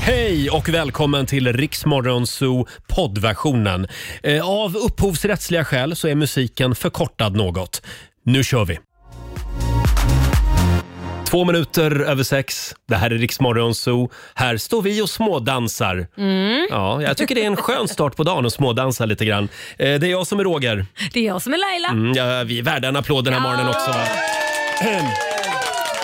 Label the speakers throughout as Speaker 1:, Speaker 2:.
Speaker 1: Hej och välkommen till Riksmorgon Zoo poddversionen. Eh, Av upphovsrättsliga skäl så är musiken förkortad något. Nu kör vi! Två minuter över sex. Det här är Riksmorgon Zoo. Här står vi och smådansar. Ja, jag tycker det är en skön start på dagen att smådansa lite grann. Eh, Det är jag som är Roger.
Speaker 2: Det är jag som är Laila.
Speaker 1: Mm, ja, vi är värda en applåd den här morgonen också.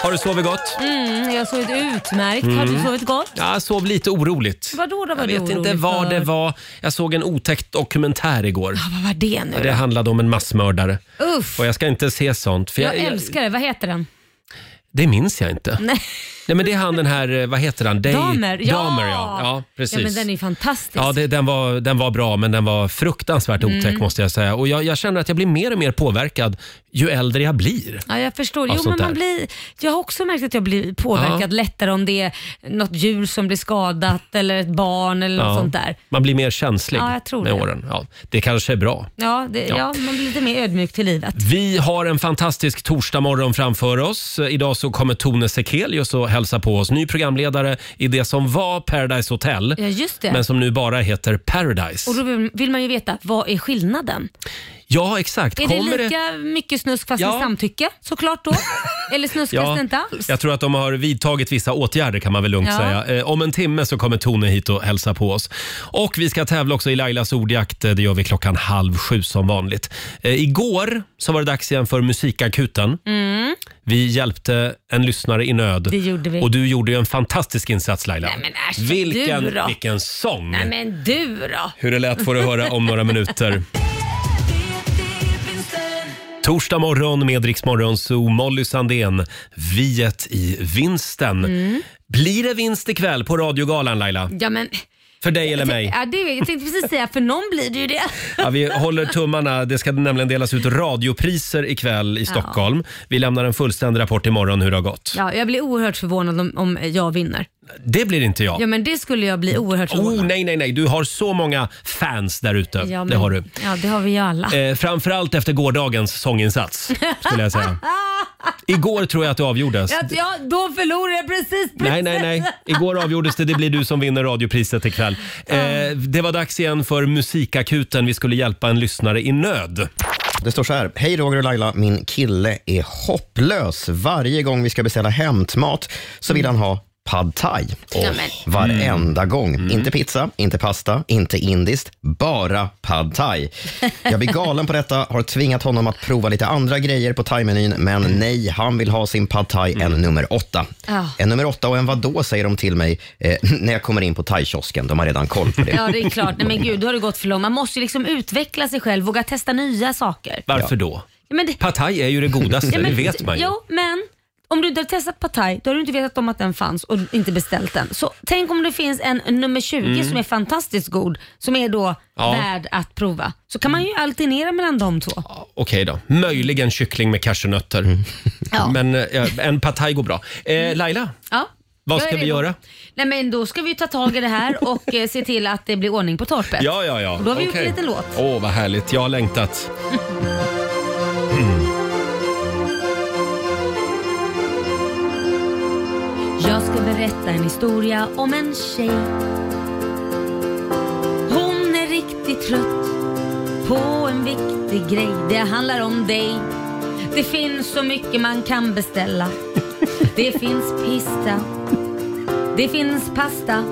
Speaker 1: Har du sovit gott?
Speaker 2: Mm, jag sov utmärkt. Har du sovit gott?
Speaker 1: Ja, jag sov lite oroligt.
Speaker 2: Vadå då? Var
Speaker 1: Mm. Jag vet inte vad det var. Jag såg en otäckt dokumentär igår.
Speaker 2: Vad var det nu?
Speaker 1: Det handlade om en massmördare.
Speaker 2: Uff,
Speaker 1: Och jag ska inte se sånt. För
Speaker 2: jag
Speaker 1: jag,
Speaker 2: älskar det. Vad heter den?
Speaker 1: det minns jag inte.
Speaker 2: Nej.
Speaker 1: Nej, men det är han den här, eh, vad heter han? Day,
Speaker 2: Damer. Ja!
Speaker 1: Damer, ja. ja precis.
Speaker 2: Ja, men den är ju fantastisk.
Speaker 1: Ja, det, den, var, den var bra, men den var fruktansvärt
Speaker 2: Mm.
Speaker 1: otäck måste jag säga. Och jag, jag känner att jag blir mer och mer påverkad ju äldre jag blir.
Speaker 2: Ja, jag
Speaker 1: Av
Speaker 2: förstår. Jo,
Speaker 1: sånt
Speaker 2: men man
Speaker 1: där.
Speaker 2: blir, jag har också märkt att jag blir påverkad
Speaker 1: Ja.
Speaker 2: lättare om det är något djur som blir skadat eller ett barn eller något
Speaker 1: Ja.
Speaker 2: sånt där.
Speaker 1: Man blir mer känslig
Speaker 2: Ja, jag tror
Speaker 1: med
Speaker 2: det.
Speaker 1: åren. Ja, det kanske är bra.
Speaker 2: Ja, det,
Speaker 1: Ja.
Speaker 2: ja. man blir lite mer ödmjuk till livet.
Speaker 1: Vi har en fantastisk torsdagmorgon framför oss. Idag så kommer Tone Sekelius och hälsa på oss. Ny programledare i det som var Paradise Hotel,
Speaker 2: Ja, just det.
Speaker 1: men som nu bara heter Paradise.
Speaker 2: Och då vill- vill man ju veta, vad är skillnaden?
Speaker 1: Ja, exakt.
Speaker 2: Är
Speaker 1: Kommer
Speaker 2: det lika mycket snusk fast
Speaker 1: Ja.
Speaker 2: med samtycke såklart då? Eller snuskas
Speaker 1: Ja,
Speaker 2: det inte alls?
Speaker 1: jag tror att de har vidtagit vissa åtgärder kan man väl lugnt
Speaker 2: Ja.
Speaker 1: säga. Eh, Om en timme så kommer Tone hit och hälsa på oss. Och vi ska tävla också i Lailas ordjakt. Eh, Det gör vi klockan halv sju som vanligt. Eh, Igår så var det dags igen för Musikakuten. Vi hjälpte en lyssnare i nöd.
Speaker 2: Mm. Det gjorde vi.
Speaker 1: Och du gjorde ju en fantastisk insats Laila.
Speaker 2: Nej, men äsch, du
Speaker 1: vilken,
Speaker 2: då?
Speaker 1: vilken sång!
Speaker 2: Nej men du då?
Speaker 1: Hur det lät får du höra om några minuter. Torsdag morgon med Rix Morgon Zoo, Molly Sandén, Viet i vinsten. Blir det vinst ikväll på radiogalan Laila?
Speaker 2: Ja men,
Speaker 1: För dig eller mig?
Speaker 2: ja, det, jag tänkte precis säga för någon blir det ju det.
Speaker 1: Ja, vi håller tummarna. Det ska nämligen delas ut radiopriser ikväll i Stockholm. Vi lämnar en fullständig rapport imorgon hur det har gått.
Speaker 2: Ja, jag blir oerhört förvånad om, om jag vinner.
Speaker 1: Det blir inte jag.
Speaker 2: Ja men det skulle jag bli oerhört förvånad.
Speaker 1: Oh, nej, nej, nej. Du har så många fans där ute.
Speaker 2: ja, men,
Speaker 1: Det har du.
Speaker 2: Ja det har vi ju alla.
Speaker 1: Eh, framförallt efter gårdagens sånginsats, skulle jag säga. Igår tror jag att det avgjordes.
Speaker 2: Ja, ja, då förlorar jag precis.
Speaker 1: Nej, nej, nej. Igår avgjordes det. Det blir du som vinner radiopriset ikväll. Eh, det var dags igen för Musikakuten. Vi skulle hjälpa en lyssnare i nöd.
Speaker 3: Det står så här. Hej Roger och Laila, min kille är hopplös. Varje gång vi ska beställa hämtmat så vill han ha pad thai.
Speaker 2: Mm. Ja, men.
Speaker 3: Varenda
Speaker 1: Mm.
Speaker 3: gång. Inte pizza, inte pasta, inte indiskt. Bara pad thai. Jag blir galen på detta, har tvingat honom att prova lite andra grejer på thaimenyn, men
Speaker 1: Mm.
Speaker 3: nej, han vill ha sin pad thai, en nummer åtta.
Speaker 2: Ja.
Speaker 3: En nummer åtta och en vadå, säger de till mig eh, när jag kommer in på thaikiosken. De har redan koll på det.
Speaker 2: Ja det är klart. Nej men gud, då har det gått för långt. Man måste ju liksom utveckla sig själv, våga testa nya saker.
Speaker 1: Varför då?
Speaker 2: Ja, men det,
Speaker 1: Pad thai är ju det godaste,
Speaker 2: Ja, men-
Speaker 1: det vet man ju.
Speaker 2: Jo, men om du inte har testat Pad Thai, då har du inte vetat om att den fanns och inte beställt den. Så tänk om det finns en nummer 20 som är fantastiskt god, som är då
Speaker 1: Mm. Ja.
Speaker 2: värd att prova. Så kan man ju alternera mellan de två.
Speaker 1: Okej då. Möjligen kyckling med cashewnötter.
Speaker 2: Ja.
Speaker 1: Men eh, en pad thai går bra. Eh, Laila,
Speaker 2: Ja.
Speaker 1: vad
Speaker 2: Jag
Speaker 1: ska
Speaker 2: är
Speaker 1: vi
Speaker 2: redo.
Speaker 1: göra?
Speaker 2: Nej men då ska vi ta tag i det här och eh, se till att det blir ordning på torpet.
Speaker 1: Ja, ja, ja.
Speaker 2: Och då har vi gjort
Speaker 1: Okej.
Speaker 2: en liten låt.
Speaker 1: Åh, vad härligt. Jag har längtat.
Speaker 2: Jag ska berätta en historia om en tjej. Hon är riktigt trött på en viktig grej. Det handlar om dig. Det finns så mycket man kan beställa. Det finns pista. Det finns pasta.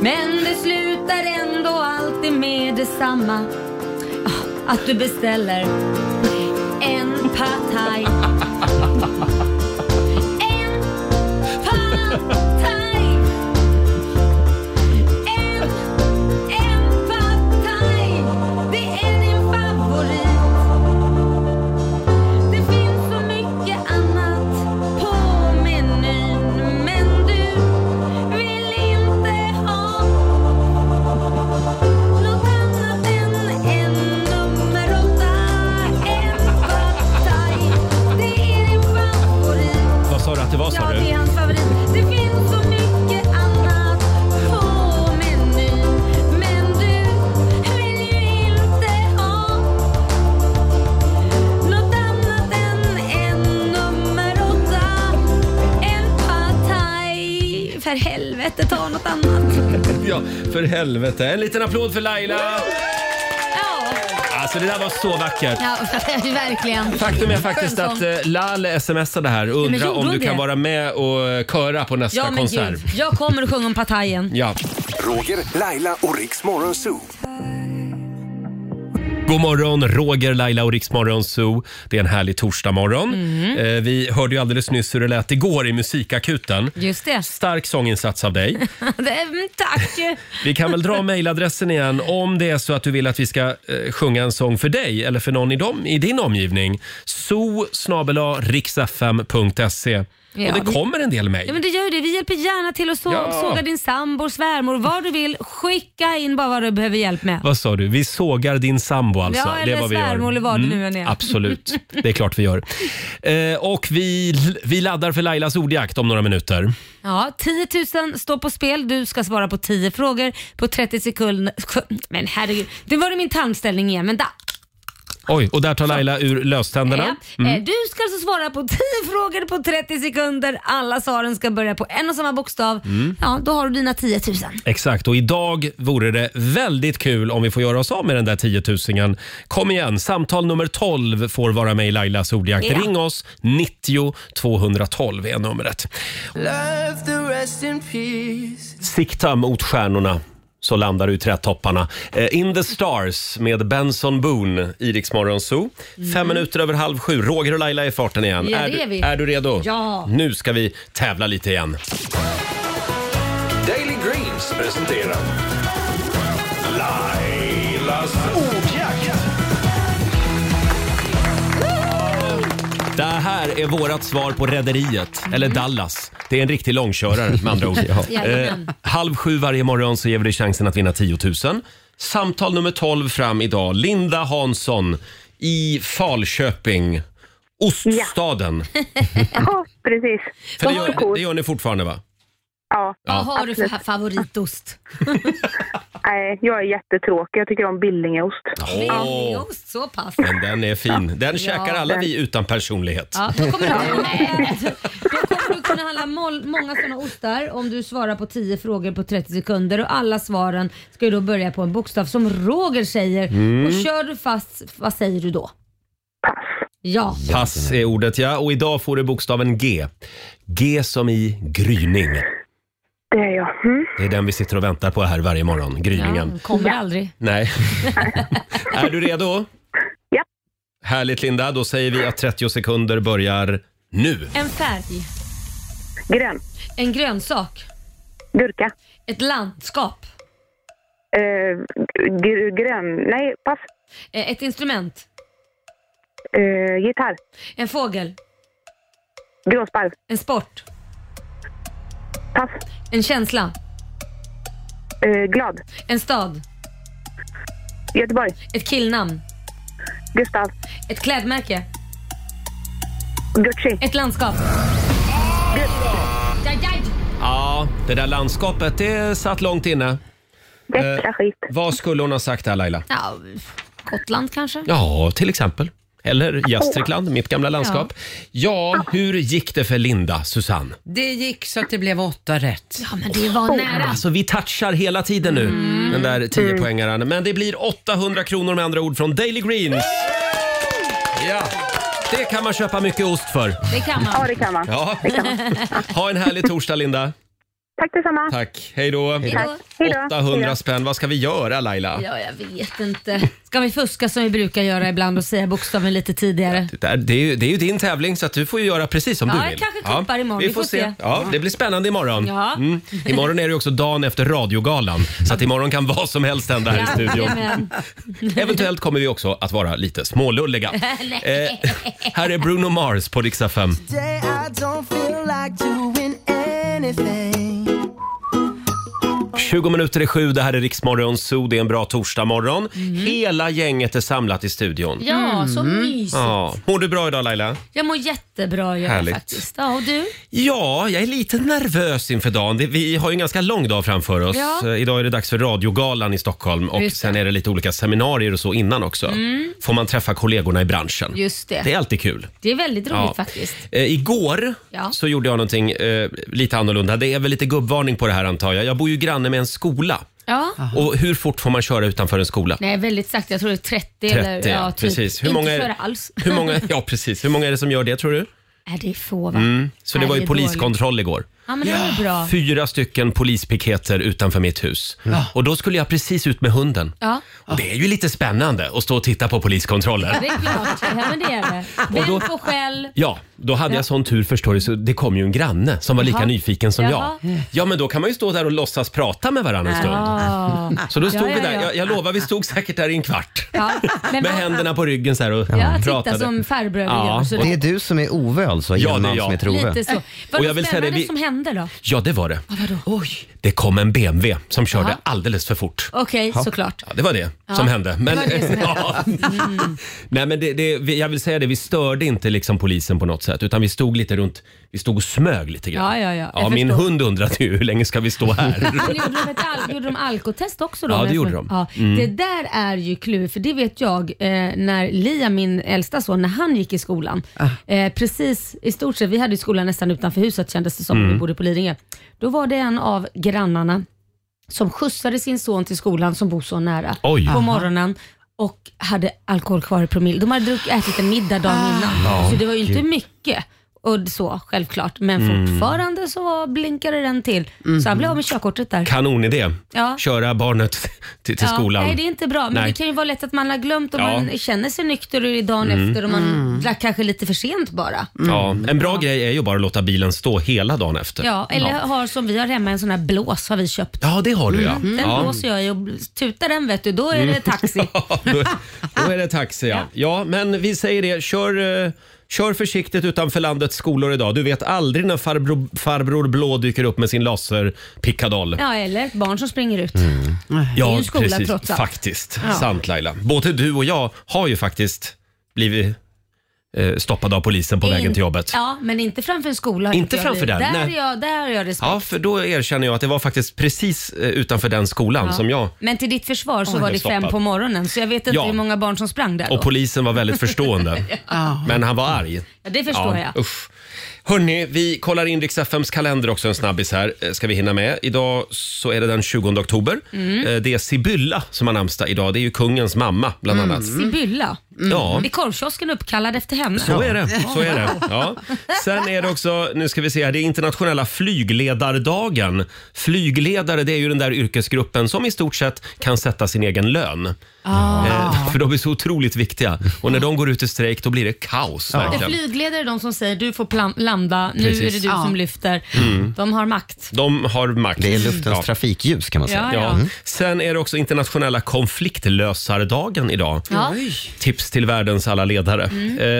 Speaker 2: Men det slutar ändå alltid med detsamma. Ah, Att du beställer en pad thai. En Partaj! En, en partaj. Det är din favorit. Det finns så mycket annat på menyn. Men du vill inte ha något annat än en nummer åtta. En partaj. Det är din favorit.
Speaker 1: Vad sa du att det var, sa
Speaker 2: Ja, det
Speaker 1: du?
Speaker 2: är hans favorit. Det finns så mycket annat på menyn. Men du vill ju inte ha något annat än en nummer åtta. En pad thai. För helvete. helvete ta något annat.
Speaker 1: Ja, för helvete. En liten applåd för Laila!
Speaker 2: Ja,
Speaker 1: Alltså det där var så vackert.
Speaker 2: ja verkligen.
Speaker 1: Faktum är faktiskt
Speaker 2: Skönsång.
Speaker 1: att eh, Lale smsade här och
Speaker 2: men
Speaker 1: undrar
Speaker 2: gjorde
Speaker 1: om
Speaker 2: hon
Speaker 1: du kan
Speaker 2: det?
Speaker 1: vara med och eh, köra på nästa
Speaker 2: Ja men
Speaker 1: konsert.
Speaker 2: gud, jag kommer och sjunger om Patajen.
Speaker 1: Ja.
Speaker 4: Roger, Laila och Riks Morgonzoo.
Speaker 1: God morgon, Roger, Laila och Riksmorgon Zoo. Det är en härlig torsdagmorgon.
Speaker 2: Mm.
Speaker 1: Eh, vi hörde ju alldeles nyss hur det lät igår i musikakuten.
Speaker 2: Just det.
Speaker 1: Stark sånginsats av dig.
Speaker 2: det mm, tack.
Speaker 1: Vi kan väl dra mejladressen igen om det är så att du vill att vi ska eh, sjunga en sång för dig eller för någon i, dem, i din omgivning. zoo riksfm.se.
Speaker 2: Ja,
Speaker 1: Och det
Speaker 2: vi-
Speaker 1: kommer en del mejl.
Speaker 2: Ja, men det gör ju det. Vi hjälper gärna till att så-
Speaker 1: Ja.
Speaker 2: såga din sambo, svärmor, vad du vill. Skicka in bara vad du behöver hjälp med.
Speaker 1: Vad sa du? Vi sågar din sambo alltså?
Speaker 2: Ja, eller
Speaker 1: är vad vi gör. Mm.
Speaker 2: svärmor eller vad det nu än är.
Speaker 1: Absolut, det är klart vi gör. Eh, och vi, vi laddar för Lailas ordjakt om några minuter.
Speaker 2: Ja, 10 000 står på spel. Du ska svara på 10 frågor på 30 sekunder. Men herregud, det var det min tarmställning igen. Vänta.
Speaker 1: Oj, och där tar Laila ur löständerna.
Speaker 2: Ja. Eh, Du ska alltså svara på 10 frågor på 30 sekunder. Alla svaren ska börja på en och samma bokstav.
Speaker 1: Mm.
Speaker 2: Ja, då har du dina 10 000.
Speaker 1: Exakt, och idag vore det väldigt kul om vi får göra oss av med den där tiotusingen. Kom igen, samtal nummer 12 får vara med i Lailas ordjakt.
Speaker 2: Ja.
Speaker 1: Ring oss, 90 212 är numret. Sikta mot stjärnorna så landar du i trädtopparna. Eh, In the stars med Benson Boone i Rix Morgon Zoo. Fem minuter över halv sju. Roger och Laila är i farten igen.
Speaker 2: Mm. Ja,
Speaker 1: är,
Speaker 2: det är vi.
Speaker 1: Du, är du redo?
Speaker 2: Ja.
Speaker 1: Nu ska vi tävla lite igen.
Speaker 4: Daily Greens presenterar Lailas ordjakt.
Speaker 1: Det här är vårt svar på Rederiet, eller Dallas. Det är en riktig långkörare med andra ord. eh,
Speaker 2: Jajamän.
Speaker 1: halv sju varje morgon så ger vi dig chansen att vinna 10 000. Samtal nummer 12 fram idag. Linda Hansson i Falköping. Oststaden. Mm.
Speaker 5: Ja, precis.
Speaker 1: För det,
Speaker 5: Vad har
Speaker 1: gör,
Speaker 5: kod?
Speaker 1: det gör ni fortfarande va?
Speaker 5: Ja,
Speaker 2: Vad har du för
Speaker 5: absolut.
Speaker 2: favoritost?
Speaker 5: nej, jag är jättetråkig. Jag tycker om Billingeost.
Speaker 1: Åh,
Speaker 2: Ost, så pass.
Speaker 1: men den är fin. Den käkar alla vi utan personlighet.
Speaker 2: Ja, då kommer du, med, då kommer du kunna handla mål, många sådana ostar om du svarar på 10 frågor på 30 sekunder och alla svaren ska ju då börja på en bokstav som Roger säger. Och kör du fast, vad säger du då?
Speaker 5: Pass.
Speaker 2: Ja.
Speaker 1: Pass är ordet ja. Och idag får du bokstaven G. G som i gryning.
Speaker 5: Det är jag. Mm.
Speaker 1: Det är den vi sitter och väntar på här varje morgon. Gryningen.
Speaker 2: Ja, Mm, kommer aldrig.
Speaker 1: Nej. är du redo?
Speaker 5: Ja.
Speaker 1: Härligt Linda, då säger vi att 30 sekunder börjar nu.
Speaker 2: En färg,
Speaker 5: Grön.
Speaker 2: en grönsak,
Speaker 5: Gurka.
Speaker 2: ett landskap,
Speaker 5: Eh, gr- grön. Nej, pass.
Speaker 2: eh, ett instrument,
Speaker 5: Eh, gitarr.
Speaker 2: en fågel,
Speaker 5: Gråsparv.
Speaker 2: en sport,
Speaker 5: Pass.
Speaker 2: en känsla,
Speaker 5: Eh, glad.
Speaker 2: en stad,
Speaker 5: Göteborg.
Speaker 2: ett killnamn,
Speaker 5: Gustav.
Speaker 2: ett klädmärke,
Speaker 1: Eh.
Speaker 5: Gucci.
Speaker 2: ett landskap. Ja, ja, ja.
Speaker 1: Ja, det där landskapet det satt långt inne.
Speaker 5: Jäkla skit.
Speaker 1: Vad skulle hon ha sagt där Laila?
Speaker 2: Ja, Gotland kanske?
Speaker 1: Ja, till exempel. Eller Gästrikland, mitt gamla landskap. Ja, hur gick det för Linda, Susanne?
Speaker 6: Det gick så att det blev åtta rätt.
Speaker 2: Ja, men det var nära.
Speaker 1: Alltså vi touchar hela tiden nu, den där 10-poängaren. Men det blir 800 kronor med andra ord från Daily Greens. Ja, det kan man köpa mycket ost för.
Speaker 2: Det kan
Speaker 5: Ja,
Speaker 2: man.
Speaker 5: det kan man.
Speaker 1: Ja. Ha en härlig torsdag Linda.
Speaker 5: Tack detsamma.
Speaker 1: Tack. Hej då.
Speaker 5: Tack. Hej då.
Speaker 1: 800 spänn. Vad ska vi göra Laila?
Speaker 2: Ja, jag vet inte. Ska vi fuska som vi brukar göra ibland och säga bokstaven lite tidigare?
Speaker 1: Det, där, det, är ju, det är ju din tävling så att du får ju göra precis som
Speaker 2: Ja,
Speaker 1: du
Speaker 2: jag
Speaker 1: vill.
Speaker 2: kanske kuppar imorgon.
Speaker 1: Vi får se. Ja, det blir spännande imorgon.
Speaker 2: Ja.
Speaker 1: Mm. Imorgon är det ju också dagen efter radiogalan så att imorgon kan vad som helst hända här i studion.
Speaker 2: Jajamän.
Speaker 1: Eventuellt kommer vi också att vara lite smålulliga. eh, här är Bruno Mars på Rix FM.
Speaker 7: Today I don't feel like doing anything.
Speaker 1: 20 minuter i sju, det här är Riksmorgon Zoo, det är en bra torsdagmorgon. Hela gänget är samlat i studion.
Speaker 2: Ja, så mysigt.
Speaker 1: Ja. Mår du bra idag Laila?
Speaker 2: Jag mår jättebra gör jag
Speaker 1: Härligt.
Speaker 2: faktiskt. Ja, och du?
Speaker 1: Ja, jag är lite nervös inför dagen. Det- Vi har ju en ganska lång dag framför oss.
Speaker 2: Ja.
Speaker 1: Eh, Idag är det dags för radiogalan i Stockholm och
Speaker 2: Just det. Mm.
Speaker 1: sen är det lite olika seminarier och så innan också. Får man träffa kollegorna i branschen.
Speaker 2: Just det.
Speaker 1: Det är alltid kul.
Speaker 2: Det är väldigt roligt
Speaker 1: Ja.
Speaker 2: faktiskt.
Speaker 1: Eh, igår
Speaker 2: Ja.
Speaker 1: så gjorde jag någonting eh, lite annorlunda. Det är väl lite gubbvarning på det här antar jag. Jag bor ju granne med en skola.
Speaker 2: Ja.
Speaker 1: Och hur fort får man köra utanför en skola?
Speaker 2: Nej, väldigt sagt. Jag tror det är 30, eller
Speaker 1: ja,
Speaker 2: ja, typ.
Speaker 1: precis. Hur
Speaker 2: Inte
Speaker 1: många, är-
Speaker 2: köra alls.
Speaker 1: Hur många, ja, precis. Hur många är det som gör det tror du?
Speaker 2: Nej, det är få va?
Speaker 1: Så det
Speaker 2: Nej,
Speaker 1: var ju
Speaker 2: är dåligt.
Speaker 1: poliskontroll igår.
Speaker 2: Ja, men det var ju bra.
Speaker 1: Fyra stycken polispiketer utanför mitt hus. Och då skulle jag precis ut med hunden.
Speaker 2: Ja,
Speaker 1: Och det är ju lite spännande att stå och titta på poliskontroller.
Speaker 2: det är klart. Ja, men det är det. Vem får skäll?
Speaker 1: Ja, då hade jag sån tur förstår du, så det kom ju en granne som var lika
Speaker 2: Jaha.
Speaker 1: nyfiken som
Speaker 2: Jaha.
Speaker 1: jag. Ja, men då kan man ju stå där och låtsas prata med varandra en stund.
Speaker 2: Ja.
Speaker 1: Så då stod
Speaker 2: Ja,
Speaker 1: vi
Speaker 2: ja,
Speaker 1: där,
Speaker 2: ja.
Speaker 1: jag, jag lovar vi stod säkert där i en kvart.
Speaker 2: Ja,
Speaker 1: med
Speaker 2: men vad-
Speaker 1: händerna på ryggen så här och
Speaker 2: Ja, titta
Speaker 1: pratade.
Speaker 2: som farbröder
Speaker 1: Ja,
Speaker 2: gör. Så
Speaker 3: Det är du som är Ove alltså?
Speaker 1: Ja, det är
Speaker 3: Hjälman
Speaker 1: jag.
Speaker 3: som heter Ove.
Speaker 2: lite så. Vad
Speaker 1: Och
Speaker 2: var
Speaker 1: jag vill
Speaker 2: det
Speaker 1: säga det,
Speaker 2: spännande
Speaker 1: vi-
Speaker 2: som hände då?
Speaker 1: Ja, det var det.
Speaker 2: Vadå? Oj.
Speaker 1: Det kom en BMW som körde
Speaker 2: Jaha.
Speaker 1: alldeles för fort.
Speaker 2: Okej, såklart.
Speaker 1: Ja, det var det som hände. Men,
Speaker 2: det var det som Mm.
Speaker 1: Ja. Nej, men det, det, vi- jag vill säga det, vi störde inte liksom polisen på något sätt utan vi stod lite runt, vi stod och smög lite grann.
Speaker 2: Ja, ja, ja.
Speaker 1: ja
Speaker 2: Jag
Speaker 1: min
Speaker 2: förstår.
Speaker 1: hund undrade ju hur länge ska vi stå här?
Speaker 2: Men gjorde, de ett al- gjorde de alkotest också då?
Speaker 1: Ja, det
Speaker 2: Men-
Speaker 1: gjorde de. Mm.
Speaker 2: Ja, Det där är ju klurigt för det vet jag eh, när Liam, min äldsta son, när han gick i skolan.
Speaker 1: Ah.
Speaker 2: Eh, precis i stort sett, vi hade ju skolan nästan utanför huset kändes det som,
Speaker 1: Mm.
Speaker 2: vi bodde på Lidingö. Då var det en av grannarna som skjutsade sin son till skolan som bor så nära
Speaker 1: Oj.
Speaker 2: på morgonen och hade alkohol kvar i promille. De hade druck, ätit en middag dagen
Speaker 1: Ah.
Speaker 2: innan, så det var ju inte mycket. Och så självklart, men
Speaker 1: Mm.
Speaker 2: fortfarande så blinkade den till. Så han blev av med körkortet där.
Speaker 1: Kanonidé.
Speaker 2: Ja.
Speaker 1: Köra barnet till, till
Speaker 2: Ja,
Speaker 1: skolan.
Speaker 2: Nej, det är inte bra. Men
Speaker 1: Nej.
Speaker 2: det kan ju vara lätt att man har glömt och
Speaker 1: Ja. Mm.
Speaker 2: man känner sig nykter i dagen efter och man drack kanske lite för sent bara.
Speaker 1: Ja, en bra grej är ju bara att låta bilen stå hela dagen efter.
Speaker 2: Mm. Ja, eller har som vi har hemma en sån här blås har vi köpt.
Speaker 1: Ja, det har du ja.
Speaker 2: Den
Speaker 1: ja. Mm.
Speaker 2: blåser jag i och tutar den vet du, då är det taxi.
Speaker 1: då, då är det taxi ja. Ja, men vi säger det. Kör, eh, kör försiktigt utanför landets skolor idag. Du vet aldrig när farbror, farbror Blå dyker upp med sin laserpickadoll.
Speaker 2: Ja, eller ett barn som springer ut.
Speaker 1: Mm. Ja,
Speaker 2: ju en skola trots allt.
Speaker 1: Faktiskt.
Speaker 2: Ja.
Speaker 1: Sant Laila. Både du och jag har ju faktiskt blivit eh, stoppade av polisen på vägen
Speaker 2: In-
Speaker 1: till jobbet.
Speaker 2: Ja, men inte framför en skola.
Speaker 1: Inte
Speaker 2: tycker jag
Speaker 1: framför
Speaker 2: blir.
Speaker 1: den,
Speaker 2: Där,
Speaker 1: nej.
Speaker 2: är jag, där har jag respekt.
Speaker 1: Ja, för då erkänner jag att det var faktiskt precis eh, utanför den skolan
Speaker 2: Ja.
Speaker 1: som jag
Speaker 2: Men till ditt försvar så var
Speaker 1: jag
Speaker 2: det
Speaker 1: är
Speaker 2: fem
Speaker 1: stoppad.
Speaker 2: på morgonen så jag vet inte
Speaker 1: Ja.
Speaker 2: hur många barn som sprang där då.
Speaker 1: och polisen var väldigt förstående. Men han var arg.
Speaker 2: Ja, det förstår jag.
Speaker 1: Usch. Hörni, vi kollar in Rix FMs kalender också en snabbis här. eh, Ska vi hinna med. Idag så är det den 20 oktober.
Speaker 2: Mm.
Speaker 1: Eh, Det är Sibylla som har namnsdag idag. Det är ju kungens mamma bland
Speaker 2: Mm.
Speaker 1: annat.
Speaker 2: Sibylla.
Speaker 1: Ja.
Speaker 2: Är Mm. korvkiosken uppkallad efter henne?
Speaker 1: Så är det. Så är det. Ja. Sen är det också, nu ska vi se här, det är internationella flygledardagen. Flygledare det är ju den där yrkesgruppen som i stort sett kan sätta sin egen lön.
Speaker 2: Ah.
Speaker 1: Eh, för de är så otroligt viktiga. Och när de går ut i strejk då blir det kaos.
Speaker 2: Det är
Speaker 1: Verkligen.
Speaker 2: flygledare är de som säger du får plan- landa, nu
Speaker 1: Precis. Mm.
Speaker 2: är det du
Speaker 6: Ja.
Speaker 2: som lyfter. De har makt.
Speaker 1: De har makt.
Speaker 3: Det är luftens
Speaker 1: Ja.
Speaker 3: trafikljus kan man säga.
Speaker 2: Mm.
Speaker 3: Mm.
Speaker 2: Ja, ja.
Speaker 1: Ja. Sen är det också internationella konfliktlösardagen idag.
Speaker 2: Ja. Mm.
Speaker 6: Oj.
Speaker 1: Tips till världens alla ledare.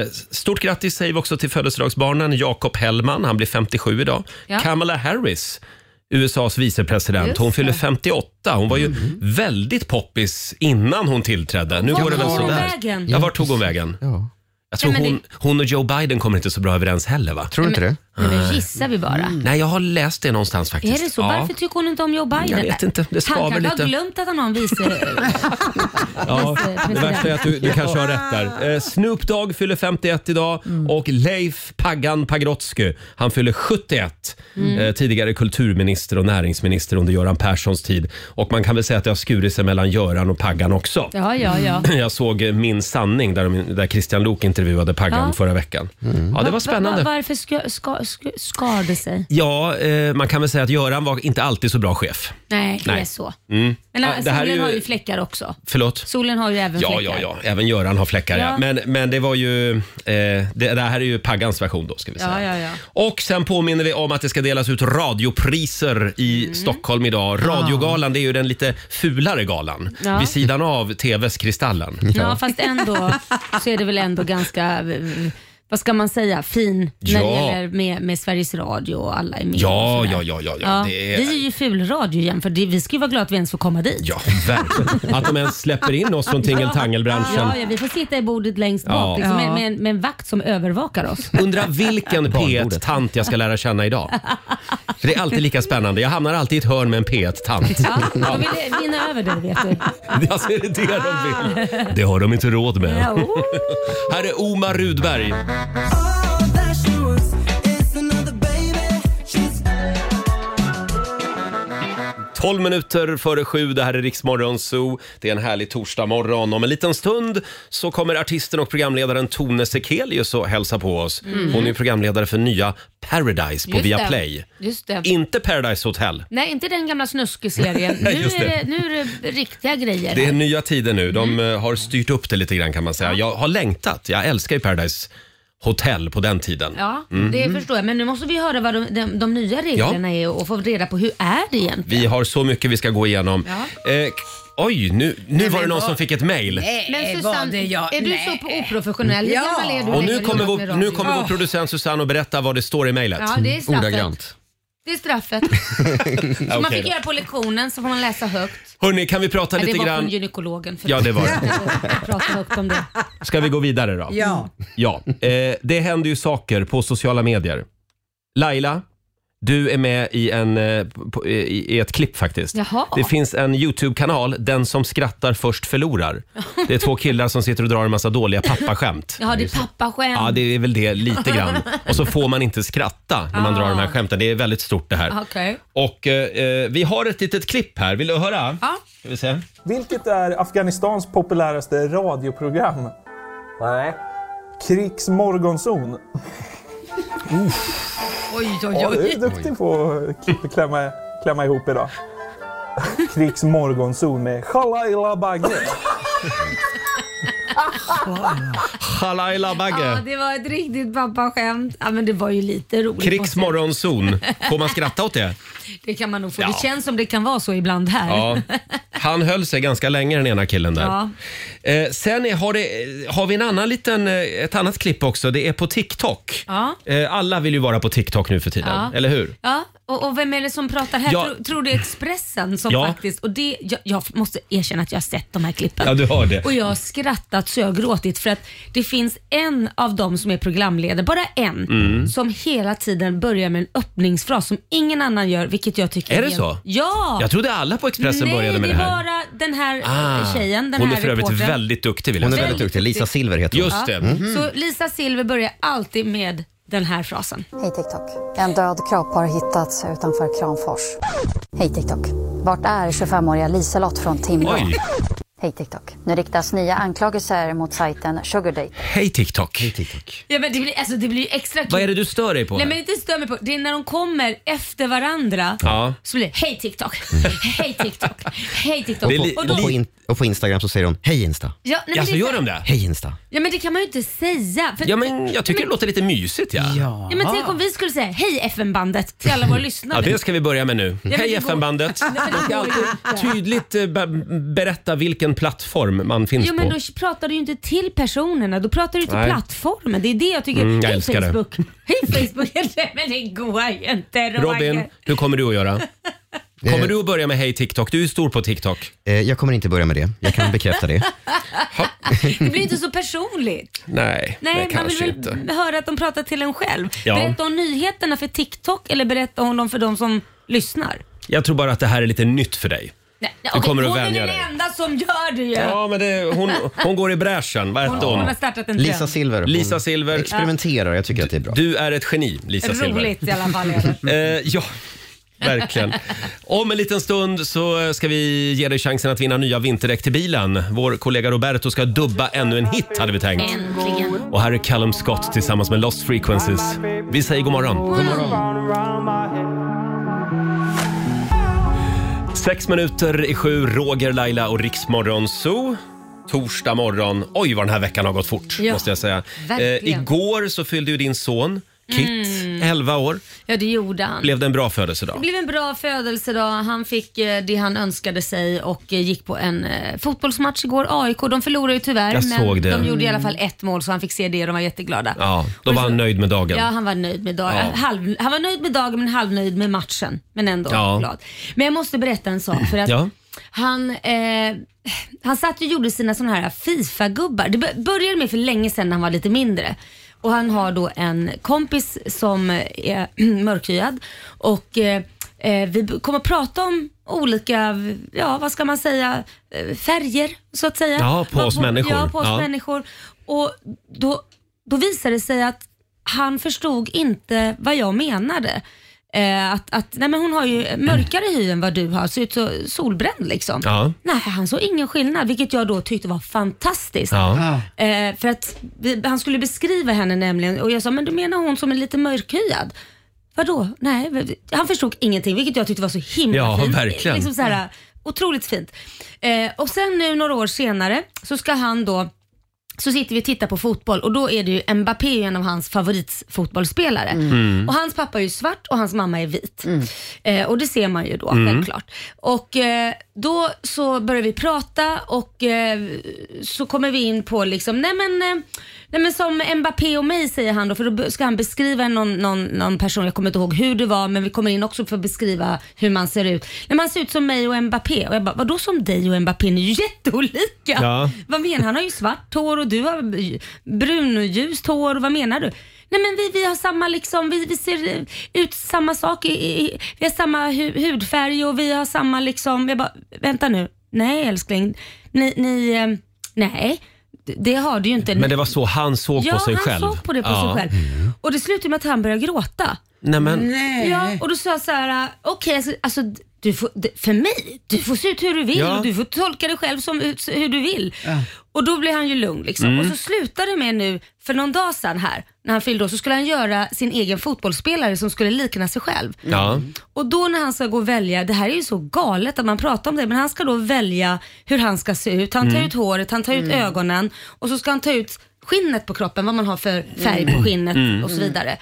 Speaker 1: Eh, stort grattis säger vi också till födelsedagsbarnen Jakob Hellman, han blir 57 idag.
Speaker 2: Ja.
Speaker 1: Kamala Harris, USAs vicepresident,
Speaker 2: Just
Speaker 1: hon
Speaker 2: det.
Speaker 1: fyller 58. Hon var ju väldigt poppis innan hon tillträdde. Nu
Speaker 2: Vart
Speaker 1: går det väl
Speaker 2: tog hon
Speaker 1: sådär.
Speaker 2: vägen?
Speaker 1: Ja, vart tog hon vägen?
Speaker 2: Mm.
Speaker 3: Ja.
Speaker 1: Jag tror
Speaker 2: Nej, men
Speaker 1: hon, hon och Joe Biden kommer inte så bra överens heller va?
Speaker 3: Tror du inte det?
Speaker 2: Nej, men gissar vi bara.
Speaker 1: Nej, jag har läst det någonstans faktiskt.
Speaker 2: Är det så?
Speaker 1: Mm. Ja.
Speaker 2: Varför tycker hon inte om Joe Biden?
Speaker 1: Jag vet inte. Det skaver
Speaker 2: han kanske
Speaker 1: lite.
Speaker 2: har glömt att han har en vice...
Speaker 1: Ja, det
Speaker 2: vicepresident.
Speaker 1: värsta är att du, du kanske har rätt där. Eh, Snoop Dogg fyller 51 idag
Speaker 2: Mm.
Speaker 1: och Leif Paggan Pagrotsky, han fyller 71.
Speaker 2: Mm.
Speaker 1: Eh, tidigare kulturminister och näringsminister under Göran Perssons tid. Och man kan väl säga att det har skurit sig mellan Göran och Paggan också.
Speaker 2: Ja, ja, ja.
Speaker 1: Jag såg eh, Min sanning där, de- där Christian Lok intervjuade Paggan
Speaker 2: Ja.
Speaker 1: förra veckan. Ja, det var
Speaker 2: Va-
Speaker 1: spännande.
Speaker 2: va- varför ska, ska, ska, skar det sig?
Speaker 1: Ja, eh, man kan väl säga att Göran var inte alltid så bra chef.
Speaker 2: Nej, det
Speaker 1: Nej.
Speaker 2: är så.
Speaker 1: Mm.
Speaker 2: Men
Speaker 1: Ja, det här är
Speaker 2: solen
Speaker 1: ju-
Speaker 2: har ju fläckar också.
Speaker 1: Förlåt?
Speaker 2: Solen har ju även
Speaker 1: Ja,
Speaker 2: fläckar.
Speaker 1: ja, ja. Även Göran har fläckar. Ja.
Speaker 2: Ja.
Speaker 1: Men, men det var ju... Eh, det, det här är ju Paggans version då, ska vi säga.
Speaker 2: Ja, ja, ja.
Speaker 1: Och sen påminner vi om att det ska delas ut radiopriser i
Speaker 2: Mm.
Speaker 1: Stockholm idag. Radiogalan, det är ju den lite fulare galan.
Speaker 2: Ja.
Speaker 1: Vid sidan av TVs Kristallen.
Speaker 2: Ja, fast ändå så är det väl ändå ganska... vad ska man säga, fin när det
Speaker 1: Ja.
Speaker 2: gäller med, med Sveriges Radio och alla är med.
Speaker 1: Ja,
Speaker 2: och sådär.
Speaker 1: ja, ja, ja, ja, det är-
Speaker 2: Vi är ju fulradio jämfört. Det- Vi ska ju vara glada att vi ens får komma dit.
Speaker 1: Ja, verkligen. Att de ens släpper in oss från tingeltangelbranschen.
Speaker 2: Ja, ja, vi får sitta i bordet längst bak
Speaker 1: Ja.
Speaker 2: liksom,
Speaker 6: Ja.
Speaker 2: med, med, med en vakt som övervakar oss.
Speaker 1: Undrar vilken
Speaker 3: Barnbordet.
Speaker 1: P1-tant jag ska lära känna idag. För det är alltid lika spännande. Jag hamnar alltid i ett hörn med en P1-tant.
Speaker 2: Ja, de vill vinna över dig vet du.
Speaker 1: Alltså, är det det de vill? Det har de inte råd med.
Speaker 2: Ah. Ja, oh.
Speaker 1: Här är Omar Rudberg. Tolv minuter före sju, det här är Riksmorgon Zoo. Det är en härlig torsdagmorgon. Om en liten stund så kommer artisten och programledaren Tone Sekelius och hälsa på oss. Hon är programledare för nya Paradise på
Speaker 2: Mm. Just
Speaker 1: Viaplay.
Speaker 2: Det. Just det.
Speaker 1: Inte Paradise Hotel.
Speaker 2: Nej, inte den gamla snuske-serien. Nu,
Speaker 1: Just det.
Speaker 2: är det- nu är det riktiga grejer.
Speaker 1: Det är nya tider nu. De
Speaker 2: Mm.
Speaker 1: eh, har styrt upp det lite grann kan man säga. Jag har längtat. Jag älskar ju Paradise Hotel på den tiden.
Speaker 2: Ja,
Speaker 1: Mm.
Speaker 2: det förstår jag. Men nu måste vi höra vad de, de, de nya reglerna är och få reda på hur är det egentligen.
Speaker 1: Vi har så mycket vi ska gå igenom.
Speaker 2: Ja.
Speaker 1: Eh, k- oj, nu, nu var det
Speaker 6: men
Speaker 1: någon
Speaker 6: vad-
Speaker 1: som fick ett mejl.
Speaker 2: Men
Speaker 6: var
Speaker 2: Susanne,
Speaker 6: det jag?
Speaker 2: är du
Speaker 6: Nej.
Speaker 2: så oprofessionell? Hur
Speaker 6: Ja.
Speaker 2: gammal är du?
Speaker 1: Och nu
Speaker 2: Lägger du
Speaker 1: kommer
Speaker 2: upp
Speaker 1: vår,
Speaker 2: med radio?
Speaker 1: nu kommer vår
Speaker 6: Ah.
Speaker 1: producent Susanne och berätta vad det står i mejlet.
Speaker 2: Ja, det är straffet.
Speaker 3: Ordagrant.
Speaker 2: Det är straffet. Som man
Speaker 1: Mm. Okej
Speaker 2: fick
Speaker 1: då.
Speaker 2: göra på lektionen så får man läsa högt.
Speaker 1: Hörni, kan vi prata
Speaker 2: Nej, det
Speaker 1: lite
Speaker 2: var från
Speaker 1: grann?
Speaker 2: gynekologen. För
Speaker 1: Ja, det var det.
Speaker 2: Jag pratar högt om det.
Speaker 1: Ska vi gå vidare då?
Speaker 6: Ja.
Speaker 1: Ja, eh, det händer ju saker på sociala medier. Laila, du är med i, en, eh, på- i, i ett klipp faktiskt.
Speaker 2: Jaha.
Speaker 1: Det finns en YouTube-kanal, Den som skrattar först förlorar. Det är två killar som sitter och drar en massa dåliga pappaskämt.
Speaker 2: Jaha, det är pappaskämt.
Speaker 1: Ja, det är väl det lite grann. Och så får man inte skratta när man
Speaker 2: Ah.
Speaker 1: drar de här skämten. Det är väldigt stort det här.
Speaker 2: Okej.
Speaker 1: Och eh, eh, vi har ett litet klipp här. Vill du höra?
Speaker 2: Ja.
Speaker 1: Ska vi se?
Speaker 7: Vilket är Afghanistans populäraste radioprogram?
Speaker 8: Nej.
Speaker 7: Krigs morgonzon.
Speaker 6: Oj,
Speaker 7: Ja,
Speaker 6: oj,
Speaker 7: du
Speaker 6: oj.
Speaker 7: är duktig på att k- klämma, klämma ihop idag. Krigs morgonzon med Shalaila Bagge.
Speaker 1: Halaila
Speaker 2: Ja,
Speaker 1: Bagge.
Speaker 2: det var ett riktigt pappaskämt. Ja, men det var ju lite roligt.
Speaker 1: Krigsmorgonzon. Får man skratta åt det?
Speaker 2: Det kan man nog få.
Speaker 1: Ja.
Speaker 2: Det känns som det kan vara så ibland här.
Speaker 1: Ja. Han höll sig ganska länge den ena killen där.
Speaker 2: Ja.
Speaker 1: Eh, sen är, har, det, har vi en annan liten, eh, ett annat klipp också. Det är på TikTok.
Speaker 2: Ja.
Speaker 1: Eh, alla vill ju vara på TikTok nu för tiden,
Speaker 2: Ja.
Speaker 1: eller hur?
Speaker 2: Ja, och, och vem är det som pratar här?
Speaker 1: Ja.
Speaker 2: Tror, tror det är Expressen som
Speaker 1: Ja.
Speaker 2: faktiskt... Och det, jag, jag måste erkänna att jag har sett de här klippen.
Speaker 1: Ja, du har det.
Speaker 2: Och jag har skrattat så jag har gråtit för att det finns en av dem som är programledare, bara en,
Speaker 1: Mm.
Speaker 2: som hela tiden börjar med en öppningsfras som ingen annan gör, vilket jag tycker
Speaker 1: Är det
Speaker 2: helt-
Speaker 1: så?
Speaker 2: Ja!
Speaker 1: Jag trodde alla på Expressen
Speaker 2: Nej,
Speaker 1: började med det
Speaker 2: det är
Speaker 1: här.
Speaker 2: bara den här eh,
Speaker 1: Ah,
Speaker 2: tjejen, den
Speaker 1: hon
Speaker 2: här
Speaker 1: är för övrigt
Speaker 2: reportern. Mm-hmm.
Speaker 1: väldigt Mm-hmm. duktig vill jag
Speaker 3: Hon är
Speaker 1: säga.
Speaker 3: väldigt duktig. Lisa Silver heter hon.
Speaker 1: Just det.
Speaker 2: Så Lisa Silver börjar alltid med den här frasen.
Speaker 9: Hej TikTok. En död kropp har hittats utanför Kramfors. Hej TikTok. Vart är 25-åriga Liselott från Timrå?
Speaker 1: Oj!
Speaker 9: Hej TikTok. Nu riktas nya anklagelser mot sajten Sugardate.
Speaker 1: Hej TikTok.
Speaker 2: Ja, men det, blir, alltså, det blir ju extra kul.
Speaker 1: Vad är det du stör dig på?
Speaker 2: Nej
Speaker 1: här?
Speaker 2: men inte stör mig på, det är när de kommer efter varandra
Speaker 1: Ja. Mm.
Speaker 2: så blir det hej TikTok, hej TikTok, hej TikTok.
Speaker 1: Det är li-
Speaker 2: och
Speaker 3: Och,
Speaker 2: då,
Speaker 3: på in, och på Instagram så säger hon hej Insta.
Speaker 2: ja, nej, men
Speaker 1: Jaså,
Speaker 2: det, är
Speaker 1: gör
Speaker 2: så-
Speaker 1: de det?
Speaker 3: Hej Insta.
Speaker 2: Ja men det kan man ju inte säga. För,
Speaker 1: Ja, men jag tycker det låter lite mysigt. Ja. Ja.
Speaker 2: ja, men tänk om vi skulle säga hej FN-bandet till alla våra lyssnare.
Speaker 1: det ska vi börja med nu.
Speaker 2: men
Speaker 1: Hej
Speaker 2: det går-
Speaker 1: FN-bandet.
Speaker 2: Nej, men det
Speaker 1: Man ska
Speaker 2: går ju
Speaker 1: alltid
Speaker 2: inte.
Speaker 1: tydligt eh, be- berätta vilken plattform man finns
Speaker 2: Jo
Speaker 1: på.
Speaker 2: men då pratar du ju inte till personerna, då pratar du till
Speaker 1: Nej.
Speaker 2: plattformen. Det är det jag tycker.
Speaker 1: Mm, jag
Speaker 2: hej
Speaker 1: älskar det.
Speaker 2: Facebook, hej Facebook. Nej men det går ju inte
Speaker 1: Robin, hur kommer du att göra? Kommer du att börja med Hej TikTok? Du är ju stor på TikTok.
Speaker 3: Eh, jag kommer inte börja med det. Jag kan bekräfta det.
Speaker 2: Det blir inte så personligt.
Speaker 1: Nej,
Speaker 2: Nej,
Speaker 1: det
Speaker 2: man vill
Speaker 1: kanske
Speaker 2: väl
Speaker 1: inte.
Speaker 2: höra att de pratar till en själv.
Speaker 1: Ja.
Speaker 2: Berättar hon nyheterna för TikTok eller berättar hon dem för de som lyssnar?
Speaker 1: Jag tror bara att det här är lite nytt för dig.
Speaker 2: Nej,
Speaker 1: Du
Speaker 2: okej,
Speaker 1: kommer att
Speaker 2: hon är
Speaker 1: vänja
Speaker 2: den
Speaker 1: dig.
Speaker 2: enda som gör det ju.
Speaker 1: Ja, men det, hon, hon går i bräschen. Vad hette
Speaker 2: Hon
Speaker 1: hon?
Speaker 2: har startat en
Speaker 3: Lisa
Speaker 2: trend.
Speaker 3: Silver. hon
Speaker 1: Lisa Silver.
Speaker 3: Experimenterar. Jag tycker att det är bra.
Speaker 1: Du är ett geni, Lisa Silver.
Speaker 2: Roligt i alla fall är det.
Speaker 1: Eh, ja, verkligen. Om en liten stund så ska vi ge dig chansen att vinna nya vinterdäck till bilen. Vår kollega Roberto ska dubba ännu en hit hade vi tänkt.
Speaker 2: Äntligen.
Speaker 1: Och här är Callum Scott tillsammans med Lost Frequencies. Vi säger god morgon. God morgon. Sex minuter i sju, Roger, Laila och Riksmorgon Zoo. Torsdag morgon. Oj, vad den här veckan har gått fort,
Speaker 2: Ja,
Speaker 1: måste jag säga.
Speaker 2: verkligen. Mm.
Speaker 1: igår så fyllde ju din son Kit, 11 år.
Speaker 2: Ja, det gjorde han.
Speaker 1: Blev det en bra
Speaker 2: Det
Speaker 1: födelsedag?
Speaker 2: blev en bra födelsedag. Han fick eh, det han önskade sig och eh, gick på en eh, fotbollsmatch igår. AIK, de förlorade ju tyvärr,
Speaker 1: Jag
Speaker 2: men
Speaker 1: såg det. Mm.
Speaker 2: de gjorde i alla fall ett mål så han fick se det och de var jätteglada.
Speaker 1: Ja, då
Speaker 2: Och
Speaker 1: var
Speaker 2: så-
Speaker 1: han nöjd med dagen.
Speaker 2: Ja, han var nöjd med dagen.
Speaker 1: Ja.
Speaker 2: Halv, han var nöjd med dagen men halvnöjd med matchen. Men ändå
Speaker 1: Ja.
Speaker 2: glad. Men jag måste berätta en sak för att
Speaker 1: Ja.
Speaker 2: han, eh, han satt och gjorde sina sådana här Fifa-gubbar. Det bör- började med för länge sedan när han var lite mindre. Och han har då en kompis som är mörkhyad och eh, eh, vi b- kommer att prata om olika, ja vad ska man säga, eh, färger så att säga.
Speaker 1: Ja, på
Speaker 2: Vad-
Speaker 1: oss människor.
Speaker 2: Ja, på oss
Speaker 1: Ja.
Speaker 2: människor. Och då, då visade det sig att han förstod inte vad jag menade. Eh, att, att, nej men hon har ju mörkare hy än vad du har, ser ut så solbränd liksom.
Speaker 1: Ja.
Speaker 2: Nej, han såg ingen skillnad, vilket jag då tyckte var fantastiskt.
Speaker 1: Ja.
Speaker 2: Eh, för att vi, han skulle beskriva henne nämligen och jag sa, men du menar hon som är lite mörkhyad? Vadå? Nej, v- han förstod ingenting, vilket jag tyckte var så himla
Speaker 1: Ja,
Speaker 2: fint.
Speaker 1: verkligen. Mm.
Speaker 2: Liksom så här, otroligt fint. Eh, och sen nu några år senare så ska han då så sitter vi och tittar på fotboll och då är det ju Mbappé är ju en av hans favoritfotbollsspelare. Och hans pappa är ju svart och hans mamma är vit. Eh, och det ser man ju då självklart. Och eh, då så börjar vi prata och eh, så kommer vi in på liksom, nej men, eh, nej men som Mbappé och mig säger han då, för då be- ska han beskriva någon, någon, någon person, jag kommer inte ihåg hur det var, men vi kommer in också för att beskriva hur man ser ut. Nej, man ser ut som mig och Mbappé och jag bara, vadå som dig och Mbappé, ni är ju jätteolika.
Speaker 1: Ja.
Speaker 2: Vad menar du? Han har ju svart hår och du har brun och ljust hår. Vad menar du? Nej men vi, vi har samma liksom, vi, vi ser ut samma sak, i, i, vi har samma hu, hudfärg och vi har samma liksom, jag bara, vänta nu, nej älskling, ni, ni eh, nej, det- det har du ju inte.
Speaker 1: Men det var så han såg
Speaker 2: ja,
Speaker 1: på sig
Speaker 2: han
Speaker 1: själv.
Speaker 2: såg på det på
Speaker 1: ja. Mm.
Speaker 2: sig själv. Och det slutade med att han började gråta.
Speaker 1: Nej, men,
Speaker 6: Nej.
Speaker 2: Ja, och då sa jag så här, okej, alltså- alltså du får, d- för mig, du får se ut hur du vill
Speaker 1: Ja.
Speaker 2: och du får tolka dig själv som, ut- hur du vill. Och då blev han ju lugn liksom. Och så slutade det med nu, för någon dag sedan här, när han fyllde år, så skulle han göra sin egen fotbollsspelare som skulle likna sig själv.
Speaker 1: ja.
Speaker 2: Och då när han ska gå och välja, det här är ju så galet att man pratar om det, men han ska då välja hur han ska se ut. Han tar
Speaker 1: Mm.
Speaker 2: ut håret, han tar ut ögonen och så ska han ta ut skinnet på kroppen, vad man har för färg
Speaker 1: Mm.
Speaker 2: på skinnet och så vidare.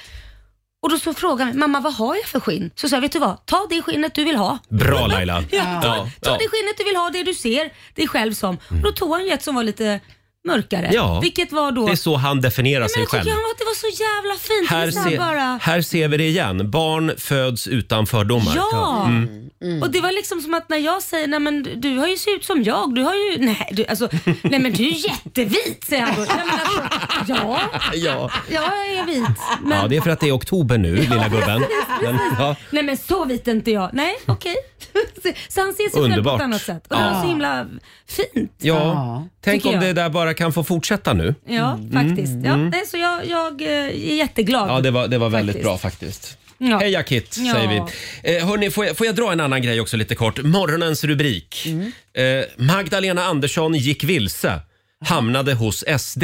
Speaker 2: Och då så frågade han mamma vad har jag för skinn? Så sa jag, vet du vad, ta det skinnet du vill ha.
Speaker 1: Bra Laila.
Speaker 2: Ja, ta,
Speaker 1: Ja,
Speaker 2: ta
Speaker 1: ja.
Speaker 2: det skinnet du vill ha, det du ser dig själv som. Och då tog han ju ett som var lite mörkare,
Speaker 1: Ja.
Speaker 2: vilket var då...
Speaker 1: Det är så han definierar
Speaker 2: men
Speaker 1: sig
Speaker 2: jag tycker
Speaker 1: själv.
Speaker 2: han var, det var så jävla fint. Det
Speaker 1: Här,
Speaker 2: är så här
Speaker 1: se,
Speaker 2: bara...
Speaker 1: här ser vi det igen. Barn föds utan fördomar.
Speaker 2: Ja!
Speaker 1: Mm.
Speaker 2: Och det var liksom som att när jag säger, nej men du- du har ju sett ut som jag, du har ju, nej, du, alltså, nej men du är ju jättevit säger han då. Nej, men alltså, ja,
Speaker 1: Ja.
Speaker 2: ja, jag är vit. Men,
Speaker 1: ja, det är för att det är oktober nu, lilla gubben. Men, ja.
Speaker 2: Nej men så vit är inte jag. Nej, okej. Så- så han ser sig själv på
Speaker 1: Underbart.
Speaker 2: ett annat sätt. Och det var så himla fint.
Speaker 1: Ja, tänk
Speaker 2: Tycker
Speaker 1: om
Speaker 2: jag.
Speaker 1: det där bara kan få fortsätta nu.
Speaker 2: Ja, faktiskt. Ja, nej, så jag, jag eh, är jätteglad.
Speaker 1: Mm. Ja, det var, det var väldigt
Speaker 2: Faktiskt.
Speaker 1: bra faktiskt.
Speaker 2: Ja.
Speaker 1: Heja Kit,
Speaker 2: Ja.
Speaker 1: säger vi. Eh, hörni, får, jag, får jag dra en annan grej också lite kort? Morgonens rubrik.
Speaker 2: Mm.
Speaker 1: Eh, Magdalena Andersson gick vilse, hamnade hos SD.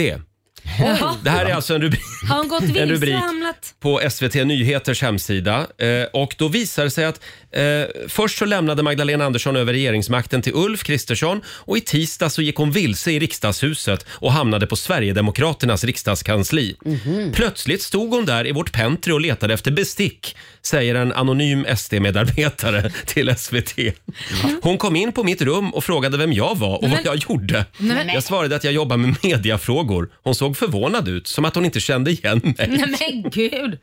Speaker 2: Jaha,
Speaker 1: Det här är alltså en rubrik
Speaker 2: Har hon gått
Speaker 1: en
Speaker 2: vilse
Speaker 1: rubrik.
Speaker 2: och hamnat?
Speaker 1: på SVT Nyheters hemsida. Eh, och då visar det sig att eh, först så lämnade Magdalena Andersson över regeringsmakten till Ulf Kristersson och i tisdag så gick hon vilse i riksdagshuset och hamnade på Sverigedemokraternas riksdagskansli. Plötsligt stod hon där i vårt pentry och letade efter bestick, säger en anonym SD-medarbetare till SVT. Hon kom in på mitt rum och frågade vem jag var och vad jag gjorde. Jag svarade att jag jobbar med mediafrågor. Hon såg förvånad ut, som att hon inte kände igen mig.
Speaker 2: Nej men gud.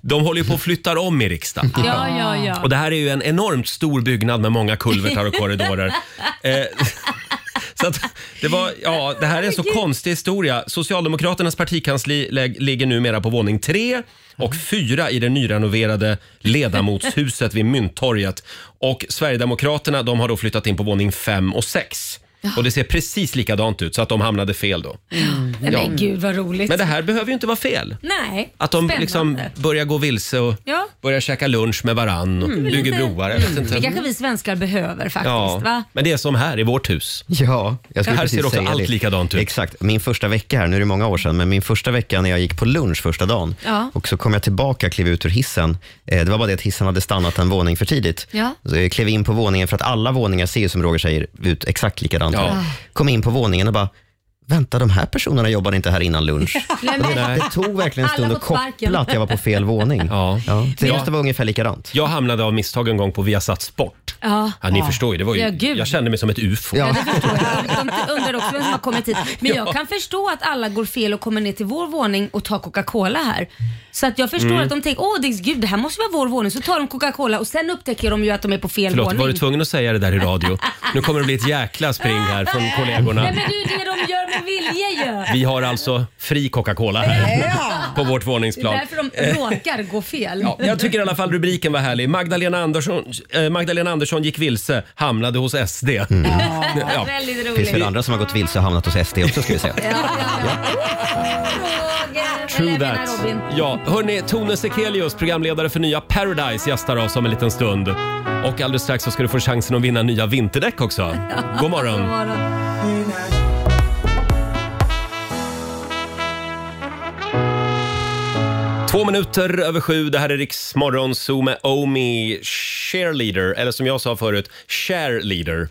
Speaker 1: De håller ju på att flytta om i riksdagen.
Speaker 2: Ja, ja, ja.
Speaker 1: Och det här är ju en enormt stor byggnad med många kulvertar och korridorer. Eh, så att det, var, ja, det här är en så konstig historia. Socialdemokraternas partikansli lä- ligger numera på våning tre och fyra i det nyrenoverade ledamotshuset vid Mynttorget. Och Sverigedemokraterna de har då flyttat in på våning fem och sex. Och det ser precis likadant ut, så att de hamnade fel då.
Speaker 2: Nej,
Speaker 1: Ja.
Speaker 2: men gud vad roligt.
Speaker 1: Men det här behöver ju inte vara fel.
Speaker 2: Nej,
Speaker 1: Att de
Speaker 2: spännande.
Speaker 1: liksom börjar gå vilse och
Speaker 2: Ja. Mm.
Speaker 1: börjar käka lunch med varann och bygger
Speaker 2: lite-
Speaker 1: broar. Jag vet
Speaker 2: Det
Speaker 1: inte.
Speaker 2: kanske vi svenskar behöver faktiskt.
Speaker 1: Ja,
Speaker 2: Va?
Speaker 1: men det är som här i vårt hus.
Speaker 3: Ja, jag skulle
Speaker 2: Här
Speaker 3: precis
Speaker 1: ser också
Speaker 3: säga
Speaker 1: allt
Speaker 3: det.
Speaker 1: likadant ut.
Speaker 3: Exakt. Min första vecka här, nu är det många år sedan, men min första vecka när jag gick på lunch första dagen
Speaker 2: Ja.
Speaker 3: och så kom jag tillbaka, klev ut ur hissen. Eh, Det var bara det att hissen hade stannat en våning för tidigt.
Speaker 2: Ja.
Speaker 3: Så jag klev in på våningen för att alla våningar ser ju som Roger säger ut exakt likadant.
Speaker 1: Ja.
Speaker 3: Kom in på våningen och bara vänta de här personerna jobbade inte här innan lunch.
Speaker 2: Nej, men-
Speaker 1: Nej.
Speaker 3: Det tog verkligen en
Speaker 2: Alla
Speaker 3: stund
Speaker 2: på
Speaker 3: att koppla
Speaker 2: sparken.
Speaker 3: att jag var på fel våning.
Speaker 1: Ja.
Speaker 3: Det måste vara ungefär likadant.
Speaker 1: Jag hamnade av misstag en gång på Viasat Sport.
Speaker 2: Ja.
Speaker 1: Ja, ni förstår ju, det var ju,
Speaker 2: Ja, gud.
Speaker 1: jag kände mig som ett ufo.
Speaker 2: Ja, det förstår jag. De undrar också vem som har kommit hit. Men jag kan förstå att alla går fel och kommer ner till vår våning och tar Coca-Cola här. Så att jag förstår
Speaker 1: Mm.
Speaker 2: att de tänker, åh det, gud, det här måste vara vår våning. Så tar de Coca-Cola och sen upptäcker de ju att de är på fel
Speaker 1: Förlåt,
Speaker 2: våning.
Speaker 1: var du tvungen att säga det där i radio? Nu kommer det bli ett jäkla spring här från kollegorna.
Speaker 2: Nej men det är ju det de gör med vilje ju.
Speaker 1: Vi har alltså fri Coca-Cola här på vårt
Speaker 2: Det är
Speaker 1: våningsplan.
Speaker 2: därför de råkar gå fel.
Speaker 1: Ja, jag tycker i alla fall rubriken var härlig. Magdalena Andersson, eh, Magdalena Andersson gick vilse, hamnade hos SD. Ja.
Speaker 2: Mm. Väldigt
Speaker 3: Det finns
Speaker 2: roligt.
Speaker 3: väl andra som har gått vilse och hamnat hos SD också ska vi säga.
Speaker 2: Ja, ja, ja. Roger.
Speaker 1: True
Speaker 2: Eller jag menar
Speaker 1: that. Mm.
Speaker 2: Robin.
Speaker 1: Ja, hörni, Tone Sekelius, programledare för nya Paradise, gästar oss om en liten stund. Och alldeles strax så ska du få chansen att vinna nya vinterdäck också. God
Speaker 2: God
Speaker 1: morgon!
Speaker 2: morgon.
Speaker 1: Två minuter över sju, det här är Riks Morgonzoo med Omi Shareleader, eller som jag sa förut, Shareleader.